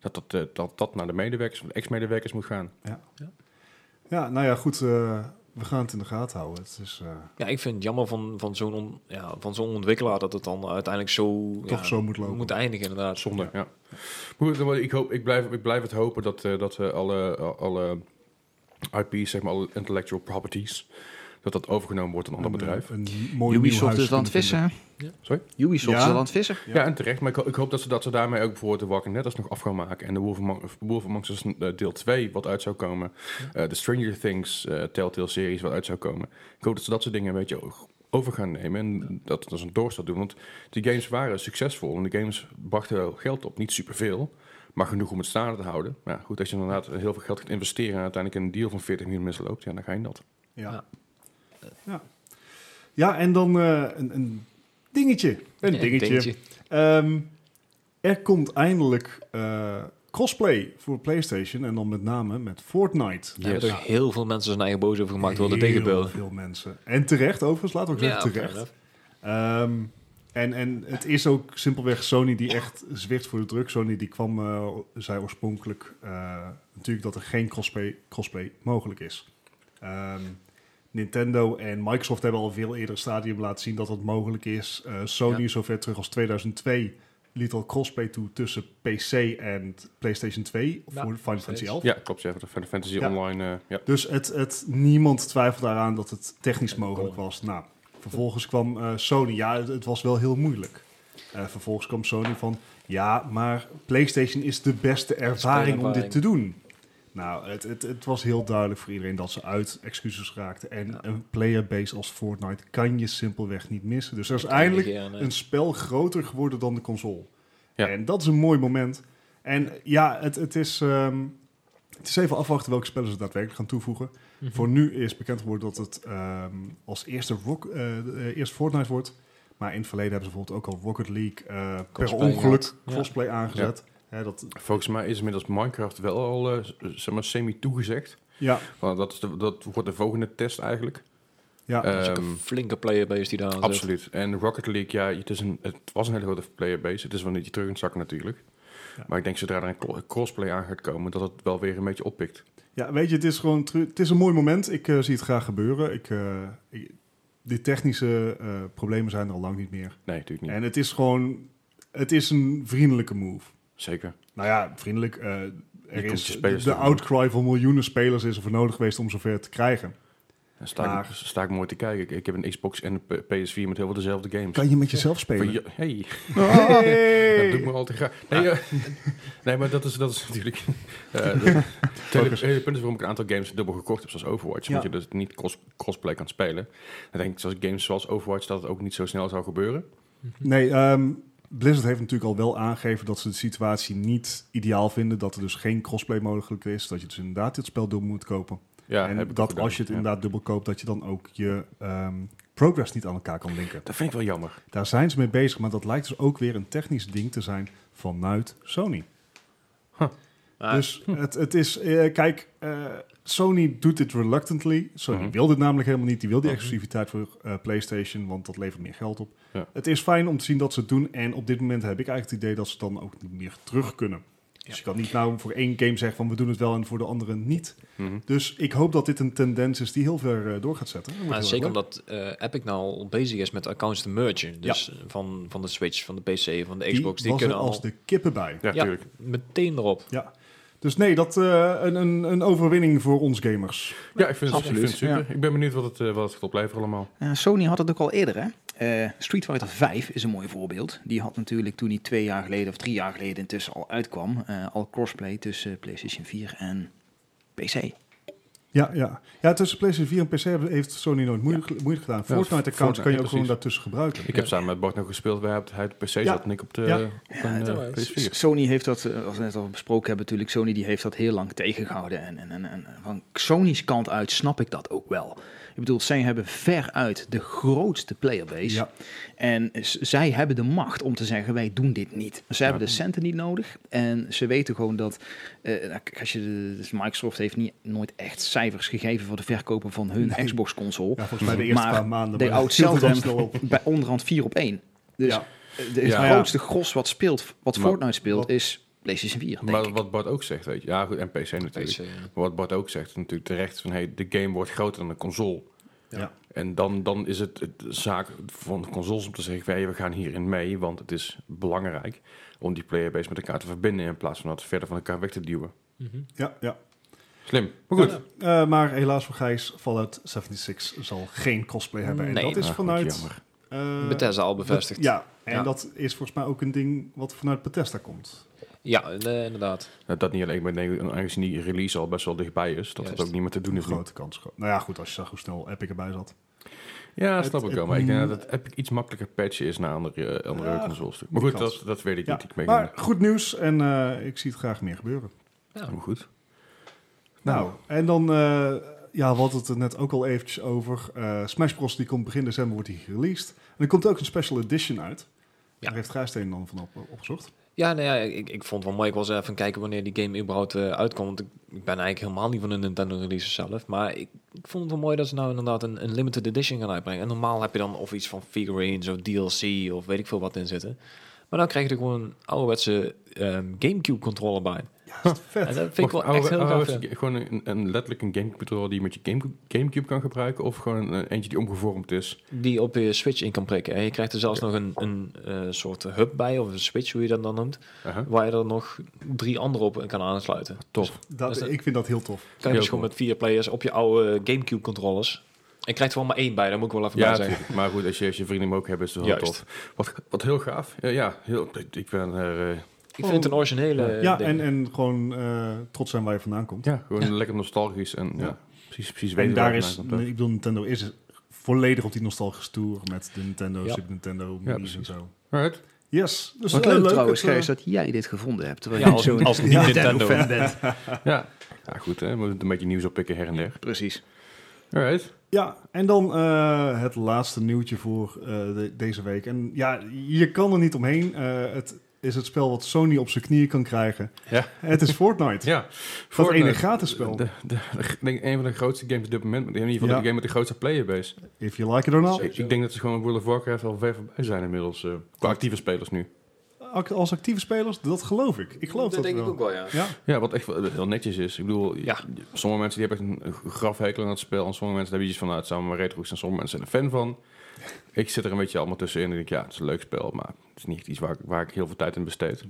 dat dat, eh, dat, dat naar de medewerkers, of de ex-medewerkers moet gaan. ja, nou ja, goed. eh, we gaan het in de gaten houden. Het is eh, Ja, ik vind het jammer van, van zo'n on- ja, van zo'n ontwikkelaar dat het dan uiteindelijk zo, toch ja, zo moet lopen. moet eindigen inderdaad. Zonde, ja. Maar goed, dan- ik, hoop, ik, blijf, ik blijf het hopen dat, eh, dat eh, alle, alle IP's, zeg maar, alle intellectual properties, dat dat overgenomen wordt door een ander Een, eh, bedrijf. Een mooi nieuw Ubisoft huis is dan het kunnen vissen. hè? Sorry? Ubisoft is Ja. dan het vissen. Ja. en terecht. Maar ik, ho- ik hoop dat ze, dat ze daarmee ook bijvoorbeeld de Walking Dead nog af gaan maken. En de Wolf Among, of Wolf Among Us eh, deel 2, wat uit zou komen. Eh, de Stranger Things eh, Telltale-series, wat uit zou komen. Ik hoop dat ze dat soort dingen een beetje o- over gaan nemen. En dat het als een doorstart doen. Want die games waren succesvol. En de games brachten wel geld op. Niet superveel, maar genoeg om het staande te houden. Maar ja, goed, als je inderdaad heel veel geld gaat investeren... en uiteindelijk een deal van 40 miljoen misloopt... ja, dan ga je in dat. vinden. Ja. Ja. Ja. ja, en dan eh, een, een dingetje. Een Ja, dingetje. Ehm, er komt eindelijk eh, crossplay voor PlayStation. En dan met name met Fortnite. Daar hebben Yes. toch heel veel mensen zijn eigen boos over gemaakt worden dus- Heel tegenbeelden. veel mensen. En terecht, overigens. Laten we ook zeggen, terecht. Ehm, en, en het is ook simpelweg Sony die echt zwicht voor de druk. Sony die kwam, eh, zei oorspronkelijk eh, natuurlijk dat er geen crossplay, crossplay mogelijk is. Ehm, Nintendo en Microsoft hebben al een veel eerder stadium laten zien dat dat mogelijk is. Eh, Sony Ja. zover terug als 2002 liet al crossplay toe tussen PC en PlayStation 2 Ja, voor Final steeds. Fantasy 11. Ja, klopt. Ja, de Final Fantasy Ja. Online... eh, ja. Dus het, het, niemand twijfelt daaraan dat het technisch Ja, mogelijk was. Nou, vervolgens kwam eh, Sony. Ja, het, het was wel heel moeilijk. Eh, vervolgens kwam Sony van... Ja, maar PlayStation is de beste ervaring om dit te doen. Nou, het, het, het was heel duidelijk voor iedereen dat ze uit excuses raakten. En Ja. een playerbase als Fortnite kan je simpelweg niet missen. Dus er is eindelijk een spel groter geworden dan de console. Ja. En dat is een mooi moment. En ja, het, het, is, ehm, het is even afwachten welke spellen ze daadwerkelijk gaan toevoegen. Mhm. Voor nu is bekend geworden dat het ehm, als eerste, rock, eh, eh, eerst Fortnite wordt. Maar in het verleden hebben ze bijvoorbeeld ook al Rocket League eh, per Crossplay ongeluk gehad. Ja. crossplay aangezet. Hè, dat, Volgens mij is inmiddels Minecraft wel al eh, z- zeg maar semi-toegezegd. ja, Want dat, is de- dat wordt de volgende test eigenlijk. Eh. ja. Ehm, een flinke playerbase die daar aan zit. absoluut. En Rocket League, ja, het, is een, het was een hele grote playerbase. Het is wel een beetje terug in het zakken natuurlijk. Ja. Maar ik denk zodra er een cro- crossplay aan gaat komen, dat het wel weer een beetje oppikt. Ja, weet je, het is gewoon tru- het is een mooi moment. Ik eh, zie het graag gebeuren. Ik, eh, ik- de technische eh, problemen zijn er al lang niet meer. Nee, natuurlijk niet. En het is gewoon, het is een vriendelijke move. Zeker. Nou ja, vriendelijk. eh, er komt is je de, spelers de tegemoet. outcry van miljoenen spelers is er voor nodig geweest om zover te krijgen. Dan sta, ik- Maar- sta ik mooi te kijken. Ik, ik heb een Xbox en een P- PS4 met heel veel dezelfde games. Kan je met jezelf Van, spelen? ja, hey, Hey! dat doet me al te graag. Nee, eh, nee, maar dat is, dat is natuurlijk... eh de- het hele- het hele punt is waarom ik een aantal games dubbel gekocht heb, zoals Overwatch. Ja. Omdat je dus niet cross, crossplay kan spelen. Dan denk ik, zoals games zoals Overwatch, dat het ook niet zo snel zou gebeuren. Nee, ehm, Blizzard heeft natuurlijk al wel aangegeven dat ze de situatie niet ideaal vinden. Dat er dus geen crossplay mogelijk is. Dat je dus inderdaad dit spel dubbel moet kopen. Ja, heb en ik dat gedaan, als je het ja. inderdaad dubbel koopt, dat je dan ook je ehm, progress niet aan elkaar kan linken. Dat vind ik wel jammer. Daar zijn ze mee bezig, maar dat lijkt dus ook weer een technisch ding te zijn vanuit Sony. Maar Dus het, het is, eh, kijk, eh, Sony doet dit reluctantly. Sony Mhm. wil dit namelijk helemaal niet. Die wil die Mhm. exclusiviteit voor eh, PlayStation, want dat levert meer geld op. Ja. Het is fijn om te zien dat ze het doen. En op dit moment heb ik eigenlijk het idee dat ze dan ook niet meer terug kunnen. Dus je kan niet nou voor één game zeggen van we doen het wel en voor de andere niet. Mhm. Dus ik hoop dat dit een tendens is die heel ver eh, door gaat zetten. Dat wordt Maar heel zeker erg leuk. omdat eh, Epic nou al bezig is met accounts te mergen. Dus van, van de Switch, van de PC, van de Xbox. Die, was er kunnen al als de kippen bij. Ja, Ja. tuurlijk. meteen erop. Ja. Dus nee, dat eh, een, een, een overwinning voor ons gamers. Ja, ik vind het, ik vind Absoluut, het super. Ik ben benieuwd wat het, eh, wat het gaat opleveren allemaal. Eh, Sony had het ook al eerder, hè? Eh, Street Fighter 5 is een mooi voorbeeld. Die had natuurlijk toen die twee jaar geleden of drie jaar geleden intussen al uitkwam, eh, al crossplay tussen PlayStation 4 en PC. Ja, ja. ja, tussen PlayStation 4 en PC hebben- heeft Sony nooit moeite, moeite gedaan. Fortnite-accounts Fortnite, kan je ja, ook gewoon precies. daartussen gebruiken. Ik heb samen met Bart nog gespeeld. Wij hebben hij op de PC zat en ik op de, Ja. op een, dat eh, wel. PS4. Sony heeft dat, eh, als we net al besproken hebben natuurlijk, Sony die heeft dat heel lang tegengehouden. En, en, en, en van Sony's kant uit snap ik dat ook wel. Ik bedoel, zij hebben veruit de grootste playerbase. Ja. En z- zij hebben de macht om te zeggen, wij doen dit niet. Ze Ja. hebben de centen niet nodig. En ze weten gewoon dat... eh, nou, kijk, als je, de- dus Microsoft heeft niet, nooit echt cijfers gegeven voor de verkopen van hun Nee. Xbox-console. Ja, volgens mij de eerste Maar paar maanden. They maar dat outsell viel er al them snel op. bij onderhand 4 op 1. Dus Ja. eh, de, het Ja. grootste gros wat speelt, wat Maar- Fortnite speelt, wat- is PlayStation 4, denk Maar ik. wat Bart ook zegt, weet je. Ja, goed, en PC natuurlijk. PC, ja. Maar Wat Bart ook zegt, is natuurlijk terecht van hey, de game wordt groter dan een console. Ja. En dan, dan is het, het zaak van de consoles om te zeggen: hey, we gaan hierin mee, want het is belangrijk om die playerbase met elkaar te verbinden in plaats van dat verder van elkaar weg te duwen. Ja, ja. Slim. Maar goed, Eh, maar helaas voor Gijs, Fallout 76 zal geen cosplay hebben. En Nee. dat is Ah, goed, vanuit... jammer. eh, Bethesda al bevestigd. Ja, Ja, en Ja. dat is volgens mij ook een ding wat vanuit Bethesda komt. eh, inderdaad. Dat, dat niet alleen, maar ik denk, aangezien die release al best wel dichtbij is, dat het Juist. ook niet meer te doen Een is. nu. grote kans. Nou ja, goed, als je zag hoe snel Epic erbij zat. Ja, Het- snap ik het wel. Maar ik denk m- dat het Epic iets makkelijker patchen is naar andere, eh, andere Ja, consoles. toe. Maar die goed, kans. dat, dat weet ik Ja, niet. Ik ben maar goed nieuws en eh, ik zie het graag meer gebeuren. maar goed. Nou, en dan, eh, ja, we hadden het er net ook al eventjes over. Eh, Smash Bros. die komt begin december, wordt die gereleased. En er komt ook een special edition uit. Ja. Daar heeft Gijssteen dan van op, opgezocht. Ja, nou ja, ik, ik vond het wel mooi. Ik was even kijken wanneer die game überhaupt eh, uitkomt. Want ik, ik ben eigenlijk helemaal niet van de Nintendo releases zelf. Maar ik, ik vond het wel mooi dat ze nou inderdaad een, een limited edition gaan uitbrengen. En normaal heb je dan of iets van figurines of DLC of weet ik veel wat in zitten. Maar dan krijg je er gewoon een ouderwetse ehm, Gamecube controller bij. Ja, dat is vet. En dat vind ik wel Wacht, echt heel oude- gaaf. ja. oude- Gewoon een, een, letterlijk een gamecube controller die je met je Gamecube, Gamecube kan gebruiken, of gewoon een, eentje die omgevormd is. Die op je Switch in kan prikken. En je krijgt er zelfs nog een, een eh, soort hub bij, of een Switch, hoe je dat dan noemt. Aha. Waar je er nog drie andere op kan aansluiten. Tof. Dat, Dus dat- ik vind dat heel tof. Kan je Heel dus gewoon cool. met vier players op je oude Gamecube controllers. Ik krijg er wel maar één bij, daar moet ik wel even Ja, bij zeggen. tuurlijk. maar goed, als je, als je vrienden hem ook hebt, is het wel Juist. tof. Wat, wat heel gaaf. Eh, ja, heel, ik, ik ben er... eh, Ik vind het een originele Oh. eh, ja, ding. en, en gewoon eh, trots zijn waar je vandaan komt. ja, gewoon lekker nostalgisch en ja. Ja. precies, precies weten En waar daar het is, ik vandaan komt. bedoel, Nintendo is volledig op die nostalgische tour met de Nintendo, Ja. Super Nintendo, Ja, Mii's en precies. zo. Alright. Yes, dus Wat eh, leuk, trouwens, het, eh, Gijs, dat jij dit gevonden hebt. Terwijl Ja, je als- zo'n als niet Nintendo. fan bent. Ja. ja, goed hè. We moeten een beetje nieuws oppikken her en der. Precies. Alright. Ja, en dan eh, het laatste nieuwtje voor eh, de- deze week. En ja, je kan er niet omheen. Eh, het is het spel wat Sony op zijn knieën kan krijgen. Ja. Het is Fortnite. Ja. Voor Fortnite. ene gratis spel. De, de, de- denk ik een van de grootste games op dit moment. In ieder geval Ja. de game met de grootste playerbase. If you like it or not. Ik, ik denk dat ze gewoon World of Warcraft al ver voorbij zijn inmiddels. eh, qua actieve spelers nu. Act- Als actieve spelers, dat geloof ik. Ik geloof dat, wel. wel, ja. Ja, Ja, wat echt wel heel netjes is. Ik bedoel, Ja. sommige mensen die hebben echt een graf hekel aan het spel. En sommige mensen hebben iets van, nou, het zijn maar retro's. En sommige mensen zijn er fan van. Ik zit er een beetje allemaal tussenin. En denk, ja, het is een leuk spel. Maar het is niet echt iets waar, ik- waar ik heel veel tijd in besteed.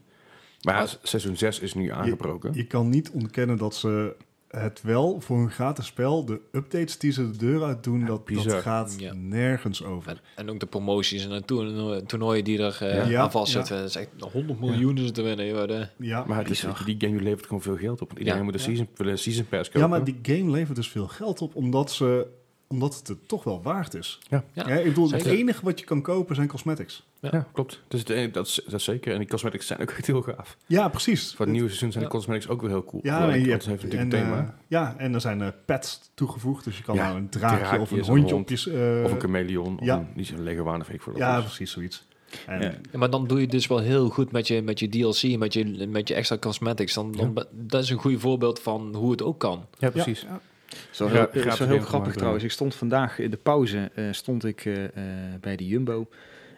Maar ja, seizoen 6 is nu aangebroken. je kan niet ontkennen dat ze het wel voor een gratis spel, de updates die ze de deur uit doen, dat, dat bizar. gaat Ja. nergens over. En, en ook de promoties en de toerno- toernooien die er eh, Ja. aan vastzitten. Dat is echt 100 miljoen is het te winnen. joh, de- Ja. maar het is, bizar. die game levert gewoon veel geld op. Want iedereen Ja. moet een season, wil een season pass kopen. ja, maar die game levert dus veel geld op, omdat, ze, omdat het het toch wel waard is. Ja. Ja, ik bedoel, het zeker. enige wat je kan kopen zijn cosmetics. Ja, klopt. Dus het, eh, dat, is, dat is zeker. En die cosmetics zijn ook echt heel gaaf. Ja, precies. Voor het nieuwe seizoen zijn de cosmetics ook weer heel cool. ja, Want en je het hebt, heeft en, natuurlijk een thema. eh, ja, en er zijn eh, pets toegevoegd, dus je kan Ja, nou een draakje of draakjes, een een hondje hond, op je... eh, of een chameleon. Of ja. een, niet zo'n leguaan of ik voor dat ja, is. precies, zoiets. En, Ja. Ja, maar dan doe je dus wel heel goed met je, met je DLC, met je, met je extra cosmetics. Dan, dan, be- Dat is een goed voorbeeld van hoe het ook kan. Ja, precies. Ja, Het is wel Ja, heel, gratis het is game wel heel van grappig maken. trouwens. Ik stond vandaag in de pauze eh, stond ik, eh, eh, bij de Jumbo.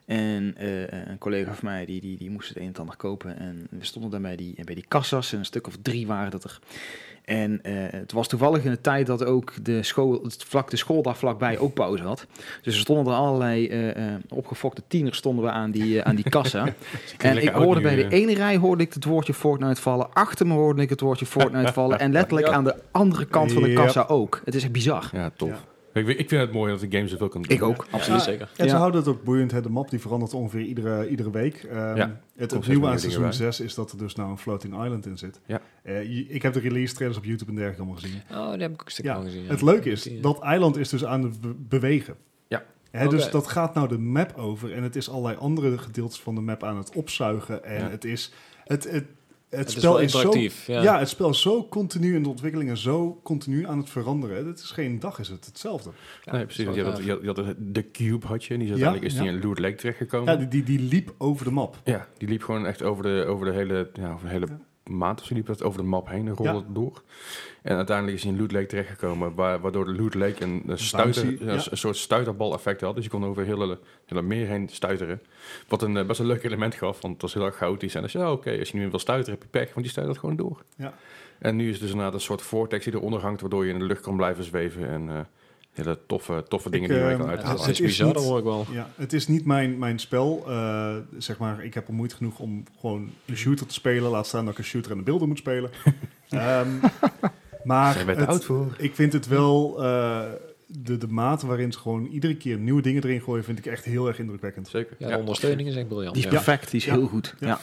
En eh, een collega van mij die, die, die moest het een en het ander kopen. En we stonden daar bij die, bij die kassas. En een stuk of drie waren dat er. En eh, het was toevallig in de tijd dat ook de school, het vlak, de school daar vlakbij ook pauze had. Dus er stonden er allerlei eh, eh, opgefokte tieners stonden we aan die, eh, aan die kassa. En ik lekker oud hoorde nu, bij de eh. ene rij hoorde ik het woordje Fortnite vallen. Achter me hoorde ik het woordje Fortnite vallen. En letterlijk Ja. aan de andere kant van de Ja. kassa ook. Het is echt bizar. Ja, tof. Ja. Ik, ik vind het mooi dat de game zoveel kan doen. e- Ik ook, absoluut. zeker. En ze Ja. houden het ook boeiend, hè. de map die verandert ongeveer iedere, iedere week. Ehm, Ja, het steeds opnieuw meer aan dingen seizoen bij. 6 is dat er dus nou een floating island in zit. Ja. Eh, je- ik heb de release trailers op YouTube en dergelijke allemaal gezien. Oh, die heb ik ook een stuk Ja, van gezien. ja. Het leuke is, Die- dat eiland is dus aan het be- bewegen. Ja. Hè, Dus Oké. dat gaat nou de map over en het is allerlei andere gedeeltes van de map aan het opzuigen. En Ja. het is, het, het, het, Het is spel wel is, zo, interactief. ja. ja. het spel is zo continu in de ontwikkeling en zo continu aan het veranderen. Het is geen dag, is het hetzelfde. nee, precies. dat want is Je wel had, je had- je had de Cube had je en die zat Ja, uiteindelijk is die ja. in Loot Lake terechtgekomen. Ja, die, die, die liep over de map. Ja, die liep gewoon echt over de, over de hele, ja, over de hele maand of zo liep dat over de map heen en rolde Ja. het door. En uiteindelijk is hij in Loot Lake terechtgekomen, waar, waardoor de Loot Lake een, eh, stuiter, Bouncy, ja, ja. een soort stuiterbal effect had. Dus je kon over heel hele, hele meer heen stuiteren. Wat een eh, best een leuk element gaf, want het was heel erg chaotisch. En dan zei je, ja, oké, als je nu wil stuiteren heb je pech, want die stuitert gewoon door. Ja. En nu is het dus inderdaad een soort vortex die eronder hangt, waardoor je in de lucht kan blijven zweven en... eh, Hele toffe, toffe dingen die je eh, kan het- ehm, Ja, uithalen. dat het is is bizar, niet- dat hoor ik wel. Ja, het is niet mijn, mijn spel. Eh, zeg maar, ik heb al moeite genoeg om gewoon een shooter te spelen. Laat staan dat ik een shooter en de beelden moet spelen. Ehm, maar Zijn we te het- oud voor? ik vind het wel... eh, de, de mate waarin ze gewoon iedere keer nieuwe dingen erin gooien... vind ik echt heel erg indrukwekkend. Zeker. Ja, Ja. de ondersteuning is echt briljant. Die is ja. perfect, die is Ja. heel goed. Ja. Ja.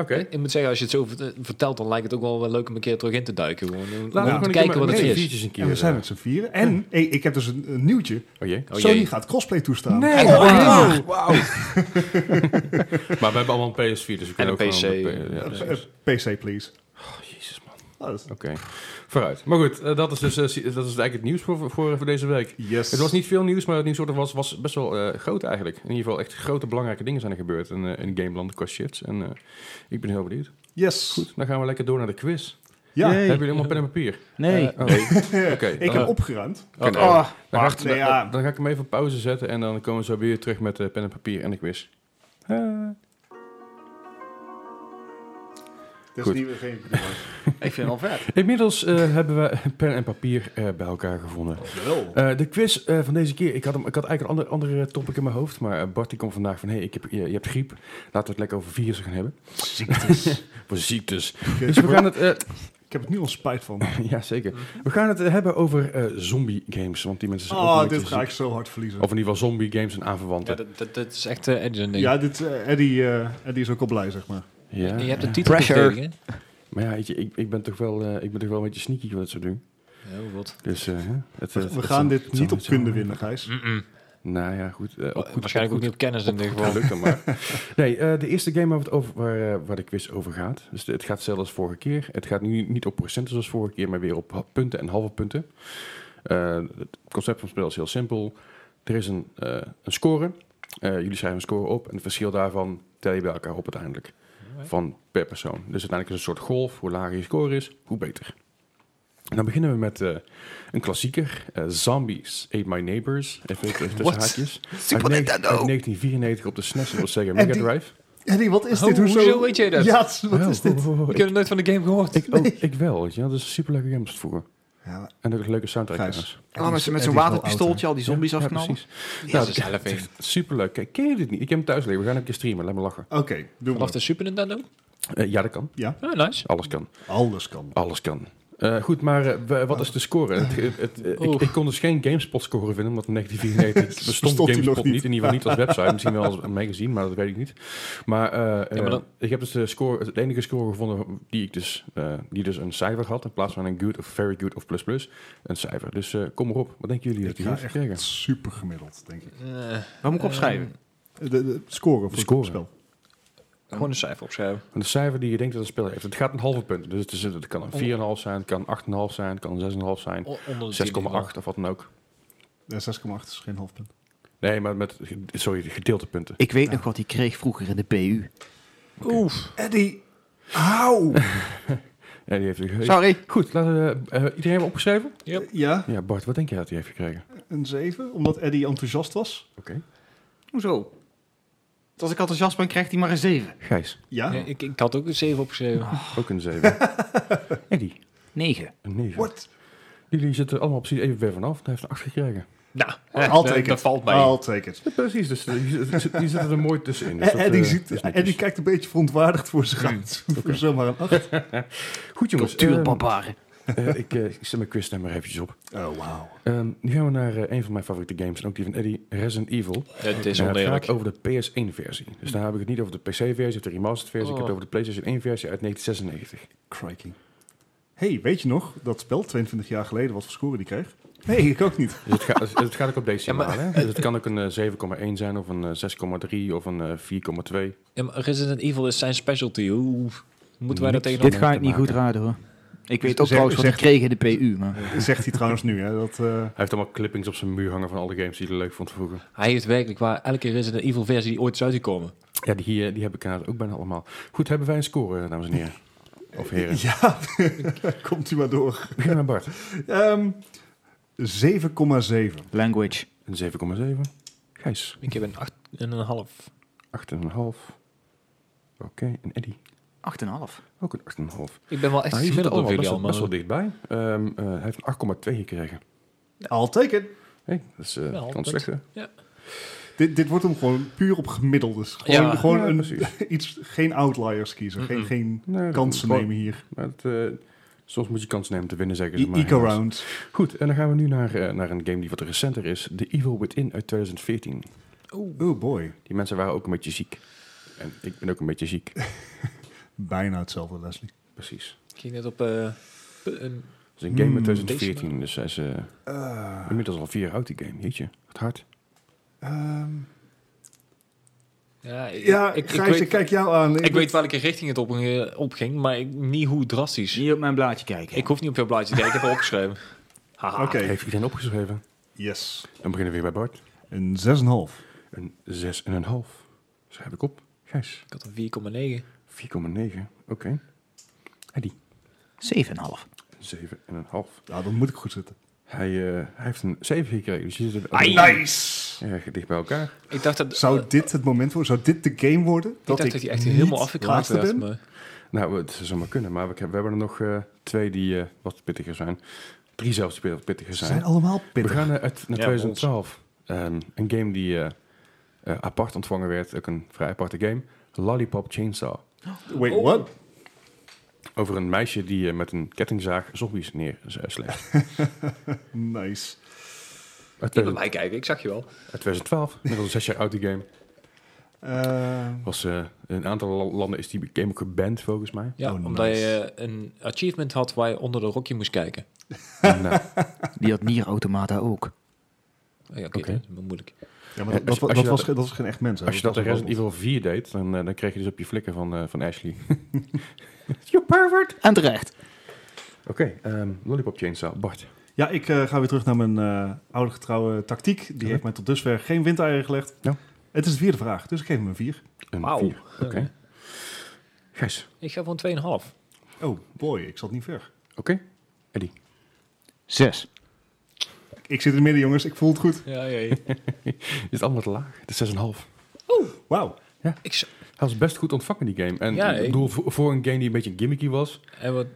Oké. Ik- Ik moet zeggen, als je het zo vert- eh, vertelt, dan lijkt het ook wel wel leuk om een keer terug in te duiken. Gewoon, om- om Laten we gewoon te een kijken keer wat met het z'n is. viertjes een keer. En we zijn eh, met z'n vieren. En hey, ik heb dus een, een nieuwtje. Oh jee. Oh Sony jee. gaat crossplay toestaan. Eh, Nee, Echt waar? wauw. maar we hebben allemaal een PS4, dus we kunnen ook een gewoon PC. op de P- ja, Eh, precies. eh, PC, please. Oh, jezus man. Oh, dat is- Oké, vooruit. Maar goed, eh, dat is dus eh, si- dat is eigenlijk het nieuws voor, voor, voor deze week. Yes. Het was niet veel nieuws, maar het nieuws wat er was, was best wel eh, groot eigenlijk. In ieder geval echt grote belangrijke dingen zijn er gebeurd in, eh, in Gameland qua shifts. En eh, ik ben heel benieuwd. Yes. Goed, dan gaan we lekker door naar de quiz. Ja, Yay. Hebben jullie allemaal pen en papier? Nee. Oh, Oké. ik dan- heb opgeruimd. Ah. Oké. Oh, Dan ga, ik, Wacht, nee, ja. dan ga ik hem even op pauze zetten en dan komen we zo weer terug met eh, pen en papier en de quiz. Eh. Dat Goed. is niet meer geen... ik vind het wel vet. Inmiddels eh, hebben we pen en papier eh, bij elkaar gevonden. Wel. Eh, de quiz eh, van deze keer. Ik had, hem, ik had eigenlijk een ander, andere topic in mijn hoofd. Maar eh, Bart die komt vandaag van... Hé, hey, ik heb- je, je hebt griep. Laten we het lekker over virussen gaan hebben. Ziektes. Voor ziektes. Oké. Dus we gaan het... eh, ik heb het nu al spijt van. Dus ja, zeker. We gaan het eh, hebben over eh, zombie games. Want die mensen zijn ook Oh, een beetje dit ga ziek. ik zo hard verliezen. Of in ieder geval zombie games en Ja, aanverwanten. dat, dat, dat is echt eh Edison ding. Ja, dit, eh, Eddie, eh, Eddie is ook al blij, zeg maar. Ja, En je hebt ja. de titel Pressure. tegen, Maar ja, weet je, ik, ik, ben toch wel, eh, ik ben toch wel een beetje sneaky wat dat soort doen. hè? Oh, wat. Dus eh, hè, het, het- We het gaan zal- dit het zal- niet op het zal- kunde winnen, Gijs. Nou ja, goed. eh, op goed- op Oh, Waarschijnlijk goed- ook niet op kennis in dit Ja, geval. lukt dan maar. Nee, eh, de eerste game waar, we het over, waar, eh, waar de quiz over gaat. Dus de- het gaat zelfs als vorige keer. Het gaat nu niet op procenten zoals vorige keer, maar weer op ha- punten en halve punten. Eh, het concept van het spel is heel simpel. Er is een, eh, een score. Eh, jullie schrijven een score op en het verschil daarvan tel je bij elkaar op uiteindelijk. Van per persoon. Dus uiteindelijk is het een soort golf. Hoe lager je score is, hoe beter. En dan beginnen we met eh, een klassieker. eh, Zombies Ate My Neighbors. Even tussen What? haakjes. Super Uit negen- Nintendo. uit 1994 op de SNES en op de Sega Mega die- Drive. Eddie, wat is Oh, dit? Hoezo? hoezo weet jij dat? Ja, het is- wat Oh, is dit? oh, oh, oh, Ik Ik, heb nooit van de game gehoord. ik, ook- ik wel, weet je wel. Dat is een superleuke game was het vroeger. Ja, En ook een leuke soundtrack. Gijs, trouwens. Oh, met, met Eddie zo'n is wel oud, waterpistooltje al die zombies Ja, afknallen. precies. Nou, dat- zelf in. Superleuk. Kijk, Ken je dit niet? Ik heb hem thuis liggen. We gaan hem een keer streamen. Laat me lachen. hè? Oké, doen Vanaf we. de Super Nintendo? Eh, ja, dat kan. Ja, Ah, nice. Alles kan. alles kan. Alles kan. Eh, goed, maar eh, we- wat is de score? Het, het, het- eh, ik, Oeh. ik kon dus geen GameSpot-score vinden, omdat in 1994 bestond, Oh. Bestond die GameSpot nog niet. niet. In ieder geval niet als website, misschien wel als een magazine, maar dat weet ik niet. Maar, eh, eh, maar dan- ik heb dus de score, het enige score gevonden die ik dus, eh, die dus een cijfer had, in plaats van een good of very good of plus plus, een cijfer. Dus eh, kom erop. Wat denken jullie dat Ik die ga heeft gekregen? echt super gemiddeld, denk ik. Eh, Waar moet ik opschrijven? De, de score voor score. het spel. gewoon een cijfer opschrijven. Een cijfer die je denkt dat het spel heeft. Het gaat een halve punt, dus het, is, het kan een 4,5 zijn, het kan 8,5 zijn, het kan een 6,5 zijn, 6,8 O- onder de of wat dan ook. Ja, 6,8 is geen halfpunt. Nee, maar met, sorry, gedeelte punten. Ik weet nog wat hij kreeg vroeger in de PU. Oef. Eddie, hou! Ja, die heeft hij gegeven. Sorry. Goed, laten we, eh, eh, iedereen hebben opgeschreven? Ja, Ja, Bart, wat denk jij dat hij heeft gekregen? een 7, omdat Eddie enthousiast was. Oké. Hoezo? Als ik enthousiast ben, krijgt hij maar een 7. Gijs, Ja, Ja, ik, ik had ook een 7 opgeschreven. ook een 7. Eddie, 9. een 9. What? Jullie zitten allemaal precies even ver vanaf. Hij heeft een 8 gekregen. Nou, eh, I'll dat- take dat it. valt mij. I'll take it. Ja, precies, dus eh, je, zit- je zit er mooi tussenin. Dus dat, eh, Eddie, dat is ziet, netjes. Eddie kijkt een beetje verontwaardigd voor zich uit. Voor zomaar een 8. Goed jongens, ehm, ehm, Cultuurbarbaren. eh, eh, ik, eh, ik zet mijn quiz daar maar eventjes op. Oh, wauw. Ehm, nu gaan we naar eh, een van mijn favoriete games, en ook die van Eddie, Resident Evil. Het is En het oneerlijk. gaat over de PS1-versie. Dus daar heb ik het niet over de PC-versie of de remastered-versie. Ik heb Oh. het over de PlayStation 1-versie uit 1996. Crikey. hey, weet je nog dat spel 22 jaar geleden wat voor score die kreeg? Nee, ik ook niet. Dus het, gaat, dus het gaat ook op decimaal, Ja, maar- hè? Dus het kan ook een eh, 7,1 zijn, of een eh, 6,3, of een eh, 4,2. Ja, maar Resident Evil is zijn specialty. Oeh. Moeten wij dat Niks. tegenaan Dit ga ik niet goed raden hoor. Ik weet ook Zeg- trouwens wat ik zeg- kreeg in de PU. Maar. Zegt hij trouwens nu, hè? Dat, eh, Hij heeft allemaal clippings op zijn muur hangen van alle games die hij leuk vond vroeger. Hij heeft werkelijk waar elke Resident Evil versie die ooit is uitgekomen. Ja, die, eh, die heb ik inderdaad ook bijna allemaal. Goed, hebben wij een score, eh, dames en heren? Of heren? ja, komt u maar door. Begin met Bart. Ehm 7,7. Language. Een 7,7. Gijs, Ik heb een acht en een half. 8,5. Oké, en Eddie, 8,5. ook een 8,5. Ik ben wel echt Nou, hier zitten gemiddeld op allemaal jullie best, wel- allemaal. best wel dichtbij. Ehm, eh, hij heeft een 8,2 gekregen. I'll take it. Hé, dat is eh Wel, kan punt. het slechter. Dit, dit wordt hem gewoon puur op gemiddeldes. Gewoon, Ja. gewoon Ja, een- precies. iets, geen outliers kiezen. Geen, Mm-mm. geen Nee, dat kansen moet nemen hier. gewoon- maar het, eh, soms moet je kansen nemen om te winnen, zeggen ze Die maar. eco-round. Goed, en dan gaan we nu naar, eh, naar een game die wat recenter is. The Evil Within uit 2014. Oh boy. Die mensen waren ook een beetje ziek. En ik ben ook een beetje ziek. Bijna hetzelfde, Leslie. Precies. Ik ging net op... eh, pu- een- Het is een game Hmm. uit 2014, dus hij is eh, inmiddels al vier jaar oud, die game. Jeetje, wat hard. Ehm, ja, ik, ja, ik, ik Gijs, weet, ik kijk jou aan. ik weet welke richting het op, eh, opging, maar ik- niet hoe drastisch. Niet op mijn blaadje kijken. Ik hoef niet op jouw blaadje te kijken, ik heb opgeschreven. Haha. Oké, Heeft iedereen opgeschreven? yes. Dan beginnen we weer bij Bart. Een 6,5. Een 6,5. Schrijf ik op. Gijs, Ik had een 4,9. 4,9. Oké. Eddie, 7,5. 7,5. Nou, dan moet ik goed zitten. Hij, eh, hij heeft een 7 gekregen, dus je zit er Nice! erg dicht bij elkaar. Ik dacht dat... Zou eh, dit het moment worden? Zou dit de game worden? ik dacht dat, hij echt helemaal afgekraakt laatste werd. ben? Maar Nou, het zou maar kunnen, maar we, we hebben er nog eh, twee die eh, wat pittiger zijn. Drie zelfs die wat pittiger Ze zijn. zijn allemaal we pittig. gaan eh, uit naar Ja, 2012. Ehm, een game die eh, eh, apart ontvangen werd, ook een vrij aparte game. Lollipop Chainsaw. Wait, what? Over een meisje die eh, met een kettingzaag zombies neersleept. Nice. Uit niet bij 2000- mij kijken, ik zag je wel. uit 2012, net al zes jaar oud die game. Eh, Was, eh, in een aantal la- landen is die game ook geband volgens mij. Ja, Oh, omdat nice. je eh, een achievement had waar je onder de rokje moest kijken. Nou, Die had Nier Automata ook. Oh ja, oké, Oké. dat is wel moeilijk. ja, maar Ja, dat, als je- dat- als dat je was, dat- geen- dat was geen echt mens. hè? als je dat in was een Resident robot. Evil 4 deed, dan, eh, dan kreeg je dus op je flikken van, eh, van Ashley. En terecht. Oké, ehm, Lollipop Chainsaw, Bart. Ja, ik eh, ga weer terug naar mijn eh, oude getrouwe tactiek. Die Ja. heeft mij tot dusver geen windeieren gelegd. Ja. Het is de vierde vraag, dus ik geef hem een vier. Een Wauw. vier. Oké. Oké. Gijs, Ik ga voor een 2,5. Oh boy, ik zat niet ver. oké? Eddie, 6. Ik zit in het midden, jongens. Ik voel het goed. Ja, ja, ja. is het allemaal te laag? Het is 6,5. Wauw. ik, z- Hij was best goed ontvangen, die game. En Ja, ik ik- bedoel, voor, voor een game die een beetje gimmicky was, en wat,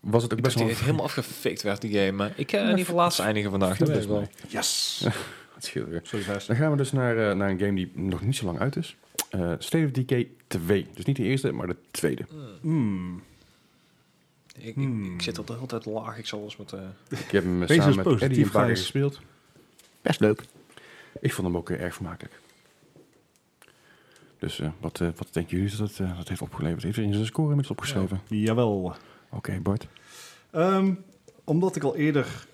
was het ook ik best wel... dacht dat hij helemaal afgefikt werd, die game. maar Ik eh, ga in ieder geval laatst eindigen vandaag. Dat weet ik wel. Yes. Het scheelt weer. Sorry, Gijs. Dan gaan we dus naar, eh, naar een game die nog niet zo lang uit is. Eh State of Decay 2. Dus niet de eerste, maar de tweede. Mm. Hmm. Ik, ik, Hmm. ik zit al de hele tijd laag. Ik zal eens moeten... Ik heb hem Wees eh, samen eens met positief, Eddie een paar keer Gijs. gespeeld. Best leuk. Ik vond hem ook eh, erg vermakelijk. Dus eh, wat, eh, wat denken jullie dat het eh, dat heeft opgeleverd? Heeft er in zijn score inmiddels opgeschreven? Jawel. Oké, Bart. Ehm, omdat ik al eerder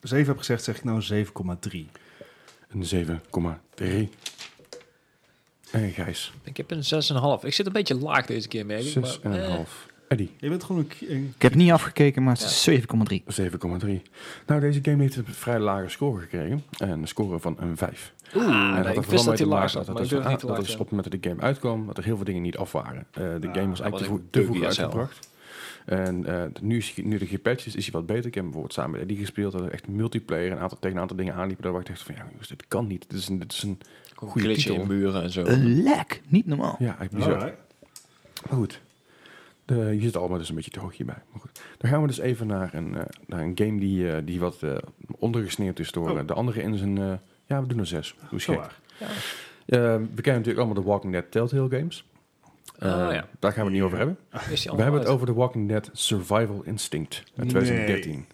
7 heb gezegd, zeg ik nou 7,3. Een 7,3. En Gijs, Ik heb een 6,5. Ik zit een beetje laag deze keer, merk ik. maar, eh, 6,5. Eddie, Je bent gewoon een... ki- een- Ik heb niet afgekeken, maar het is 7,3. 7,3. Nou, deze game heeft een vrij lage score gekregen. Een score van een 5. eh, Oeh, en Ah, nee, ik wist dat hij laag zat, maar ik durf dat, het niet te dat er laag te op het moment dat de game uitkwam, dat er heel veel dingen niet af waren. Eh, de Ah, game was dat was eigenlijk te, vroeg- echt te vroeg buggy as hell. uitgebracht. En eh, nu, is, hij- nu de gepatcht is, is hij wat beter. Ik heb bijvoorbeeld samen met Eddie gespeeld. Dat er echt multiplayer een aantal, tegen een aantal dingen aanliepen. Daar waar ik dacht van, ja, jongens, dit kan niet. Dit is een, dit is een Gewoon Goeie glitchen in titel. muren en zo. Een lek. Niet normaal. ja, echt bizar. Oh, Alright. Maar goed. De, je zit allemaal dus een beetje te hoog hierbij. Maar goed. Dan gaan we dus even naar een, eh, naar een game die, eh, die wat eh, ondergesneeuwd is door Oh. Ah, eh, de andere in zijn... eh, ja, we doen er zes. Hoe is Zo gek. waar. Eh, we kennen natuurlijk allemaal de Walking Dead Telltale games. Eh, Ah, ja. Daar gaan we het niet over hebben. Is die we hebben allemaal het over de Walking Dead Survival Instinct uit Nee. 2013.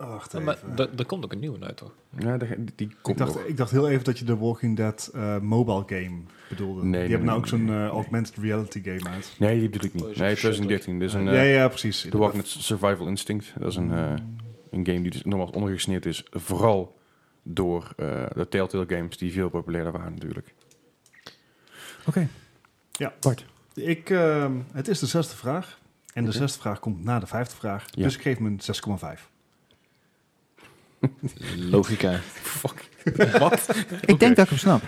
Oh, wacht uit? even. Ja, maar da- er komt ook een nieuwe uit, toch? Ja, daar- die, die ik, komt nog. dacht, e- ik dacht heel even dat je de Walking Dead eh, mobile game bedoelde. Die Nee, nee, hebben nee, nou ook zo'n nee, eh, nee. augmented reality game uit. Nee, die bedoel ik niet. Oh, is Nee, het 2013. Dit is een, Ah. ja, eh, ja, precies. de Walking Dead Survival Instinct. Dat is een, eh, een game die dus nogmaals ondergesneeuwd is. Vooral door eh, de Telltale games die veel populairder waren natuurlijk. Oké. Ja. Bart. Ik, ehm, het is de zesde vraag. En de zesde vraag komt na de vijfde vraag. Mhm. Ja. Dus ik geef hem een 6,5. Logica. Fuck. Wat? Ik denk dat ik hem snap.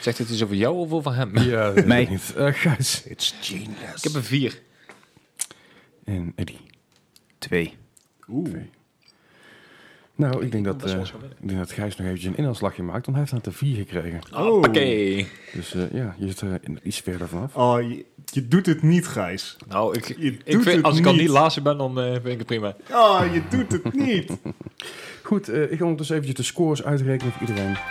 Zegt het iets over jou of over hem? Ja, dat weet Nee. ik niet. Eh, Gijs. It's genius. Ik heb een vier. En Eddie. Twee. Oeh. Nou, ik denk kan dat, best wel eh, eens gaan winnen. ik denk dat Gijs nog eventjes een inhaalslagje maakt, want hij heeft er een 4 gekregen. Oh. Ah, Oké. Dus eh, ja, je zit er in- iets verder vanaf. Oh, je, je doet het niet, Gijs. Nou, ik, Je ik doet vind, het als ik al niet. niet laatste ben, dan eh, vind ik het prima. Oh, je doet het niet. Goed, eh, ik ga ondertussen eventjes de scores uitrekenen voor iedereen.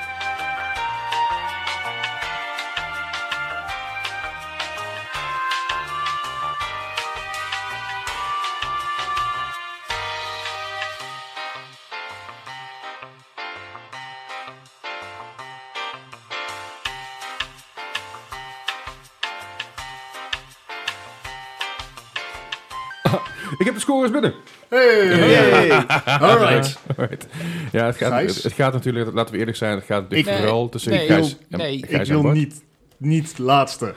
Ik heb de scores binnen. Hey. All right. Alright. Ja, het gaat, Gijs? het, het gaat natuurlijk, laten we eerlijk zijn, het gaat natuurlijk Nee. vooral tussen Nee, Gijs, joh. en- Nee. Gijs Ik en wil Bart. niet, niet laatste.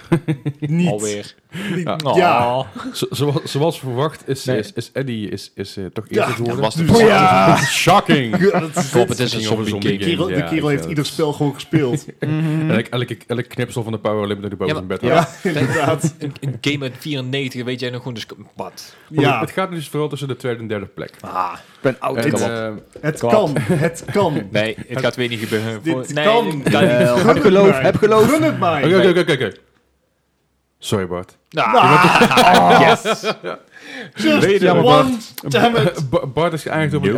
niet. Alweer. Niet- Oh. Ja. Zo- zoals, zoals verwacht is, Nee. is, is Eddie is, is, eh, toch Ja, eerder geworden. was de vraag. Ja. Shocking! Ja, dat is Klopt, het. het is een Ging over zombie zombie game. De kerel, de Ja, kerel ja, heeft dat ieder is- spel gewoon gespeeld. En elk, elke, elke knipsel van de Power Limit naar de boven Ja, zijn bed. ja, inderdaad. Een, een game uit 94, weet jij nog gewoon, dus wat? Maar goed, Ja, Het gaat dus vooral tussen de tweede en derde plek. Ah, Ik ben oud. En, kan eh, het kan. Het kan. nee, het gaat weer niet gebeuren. Dit nee, kan. dit kan niet. Gun het geloof, mij. heb geloof. Gun het mij. Oké, oké, oké, oké, oké. Sorry Bart. Nou, Ah. Just Weet je dat, one. Damn it. Ba- Bart is eigenlijk op een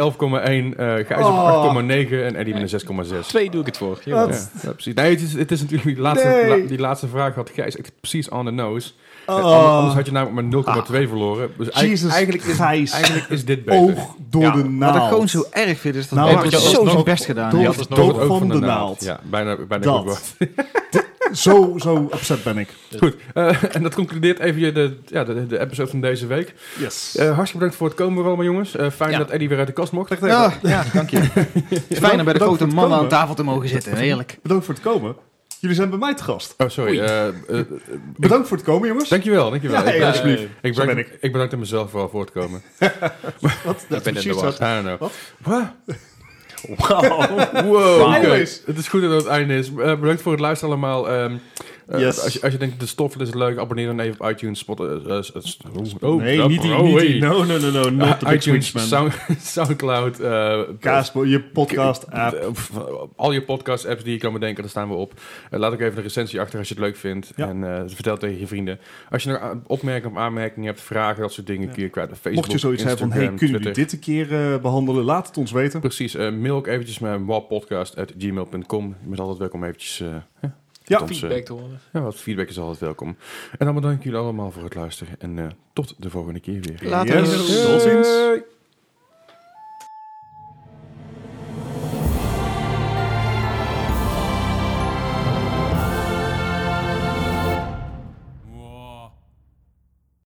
11,1, eh Gijs Oh. op 8,9 en Eddie met een 6,6. twee doe ik het voor. Ja, Ja. Dat- ja, precies. Nee, het is, het is natuurlijk die laatste, Nee. la- die laatste vraag had Gijs echt precies on the nose. Eh, ander- Oh, Ah. Anders had je namelijk met 0,2 verloren. Dus eigenlijk- Jesus Oh, eigenlijk, is, Gijs. eigenlijk is dit beter. oog door Ja, de Wat naald. ik gewoon zo erg vind, is dat Nou, Bart want je had zo alsnog- zijn best gedaan Door heeft. had het de nog het dood Ook van, de, naald. Ja, bijna, bijna Dat. goed. Bart. Zo, zo upset ben ik. Goed, eh, en dat concludeert even je de, ja, de, de episode van deze week. Yes. Eh, hartstikke bedankt voor het komen weer allemaal jongens. Eh, fijn Ja. dat Eddie weer uit de kast mocht. Ja, ja, dank je. Het is fijn om bij de Bedankt grote voor het mannen aan komen. tafel te mogen zitten. Heerlijk. Bedankt voor het komen. Jullie zijn bij mij te gast. Oh, sorry. eh, eh, eh, Bedankt voor het komen, jongens. dankjewel, dankjewel. Ja, ik, ja, ben- alsjeblieft. ik, bedank, Zo ben ik. bedank mezelf vooral voor het komen. Wat? Dat ben in de war. I don't know. Wat? Wat? Wauw. Wow. oké. Anyways. Het is goed dat het einde is. Eh, bedankt voor het luisteren allemaal. Ehm, eh, Yes. als, je, als je denkt, de stof is leuk, abonneer dan even op iTunes, Spot... eh, eh, eh, oh, Nee, oh, niet die. oh, Niet hey. die. No, no, no, no. Not the Eh, big iTunes, Switch, man. Sound- Soundcloud, eh, Kaasbo, je podcast eh, app. eh, f- al je podcast-apps die je kan bedenken, daar staan we op. Eh, laat ook even een recensie achter als je het leuk vindt. Ja. En eh, vertel tegen je vrienden. Als je nog a- opmerkingen of aanmerkingen hebt, vragen, dat soort dingen, kun je kwijt op Facebook, Mocht je zoiets hebben van, hey, Instagram, kunnen jullie Twitter. dit een keer eh, behandelen? Laat het ons weten. Precies, eh, mail ook eventjes naar wapodcast.gmail.com. Je bent altijd welkom om eventjes eh, Ja. tot ons, eh, Feedback te horen. ja, wat feedback is altijd welkom. En dan bedank ik jullie allemaal voor het luisteren. En eh, tot de volgende keer weer. Later. Yes. Tot ziens. Doei.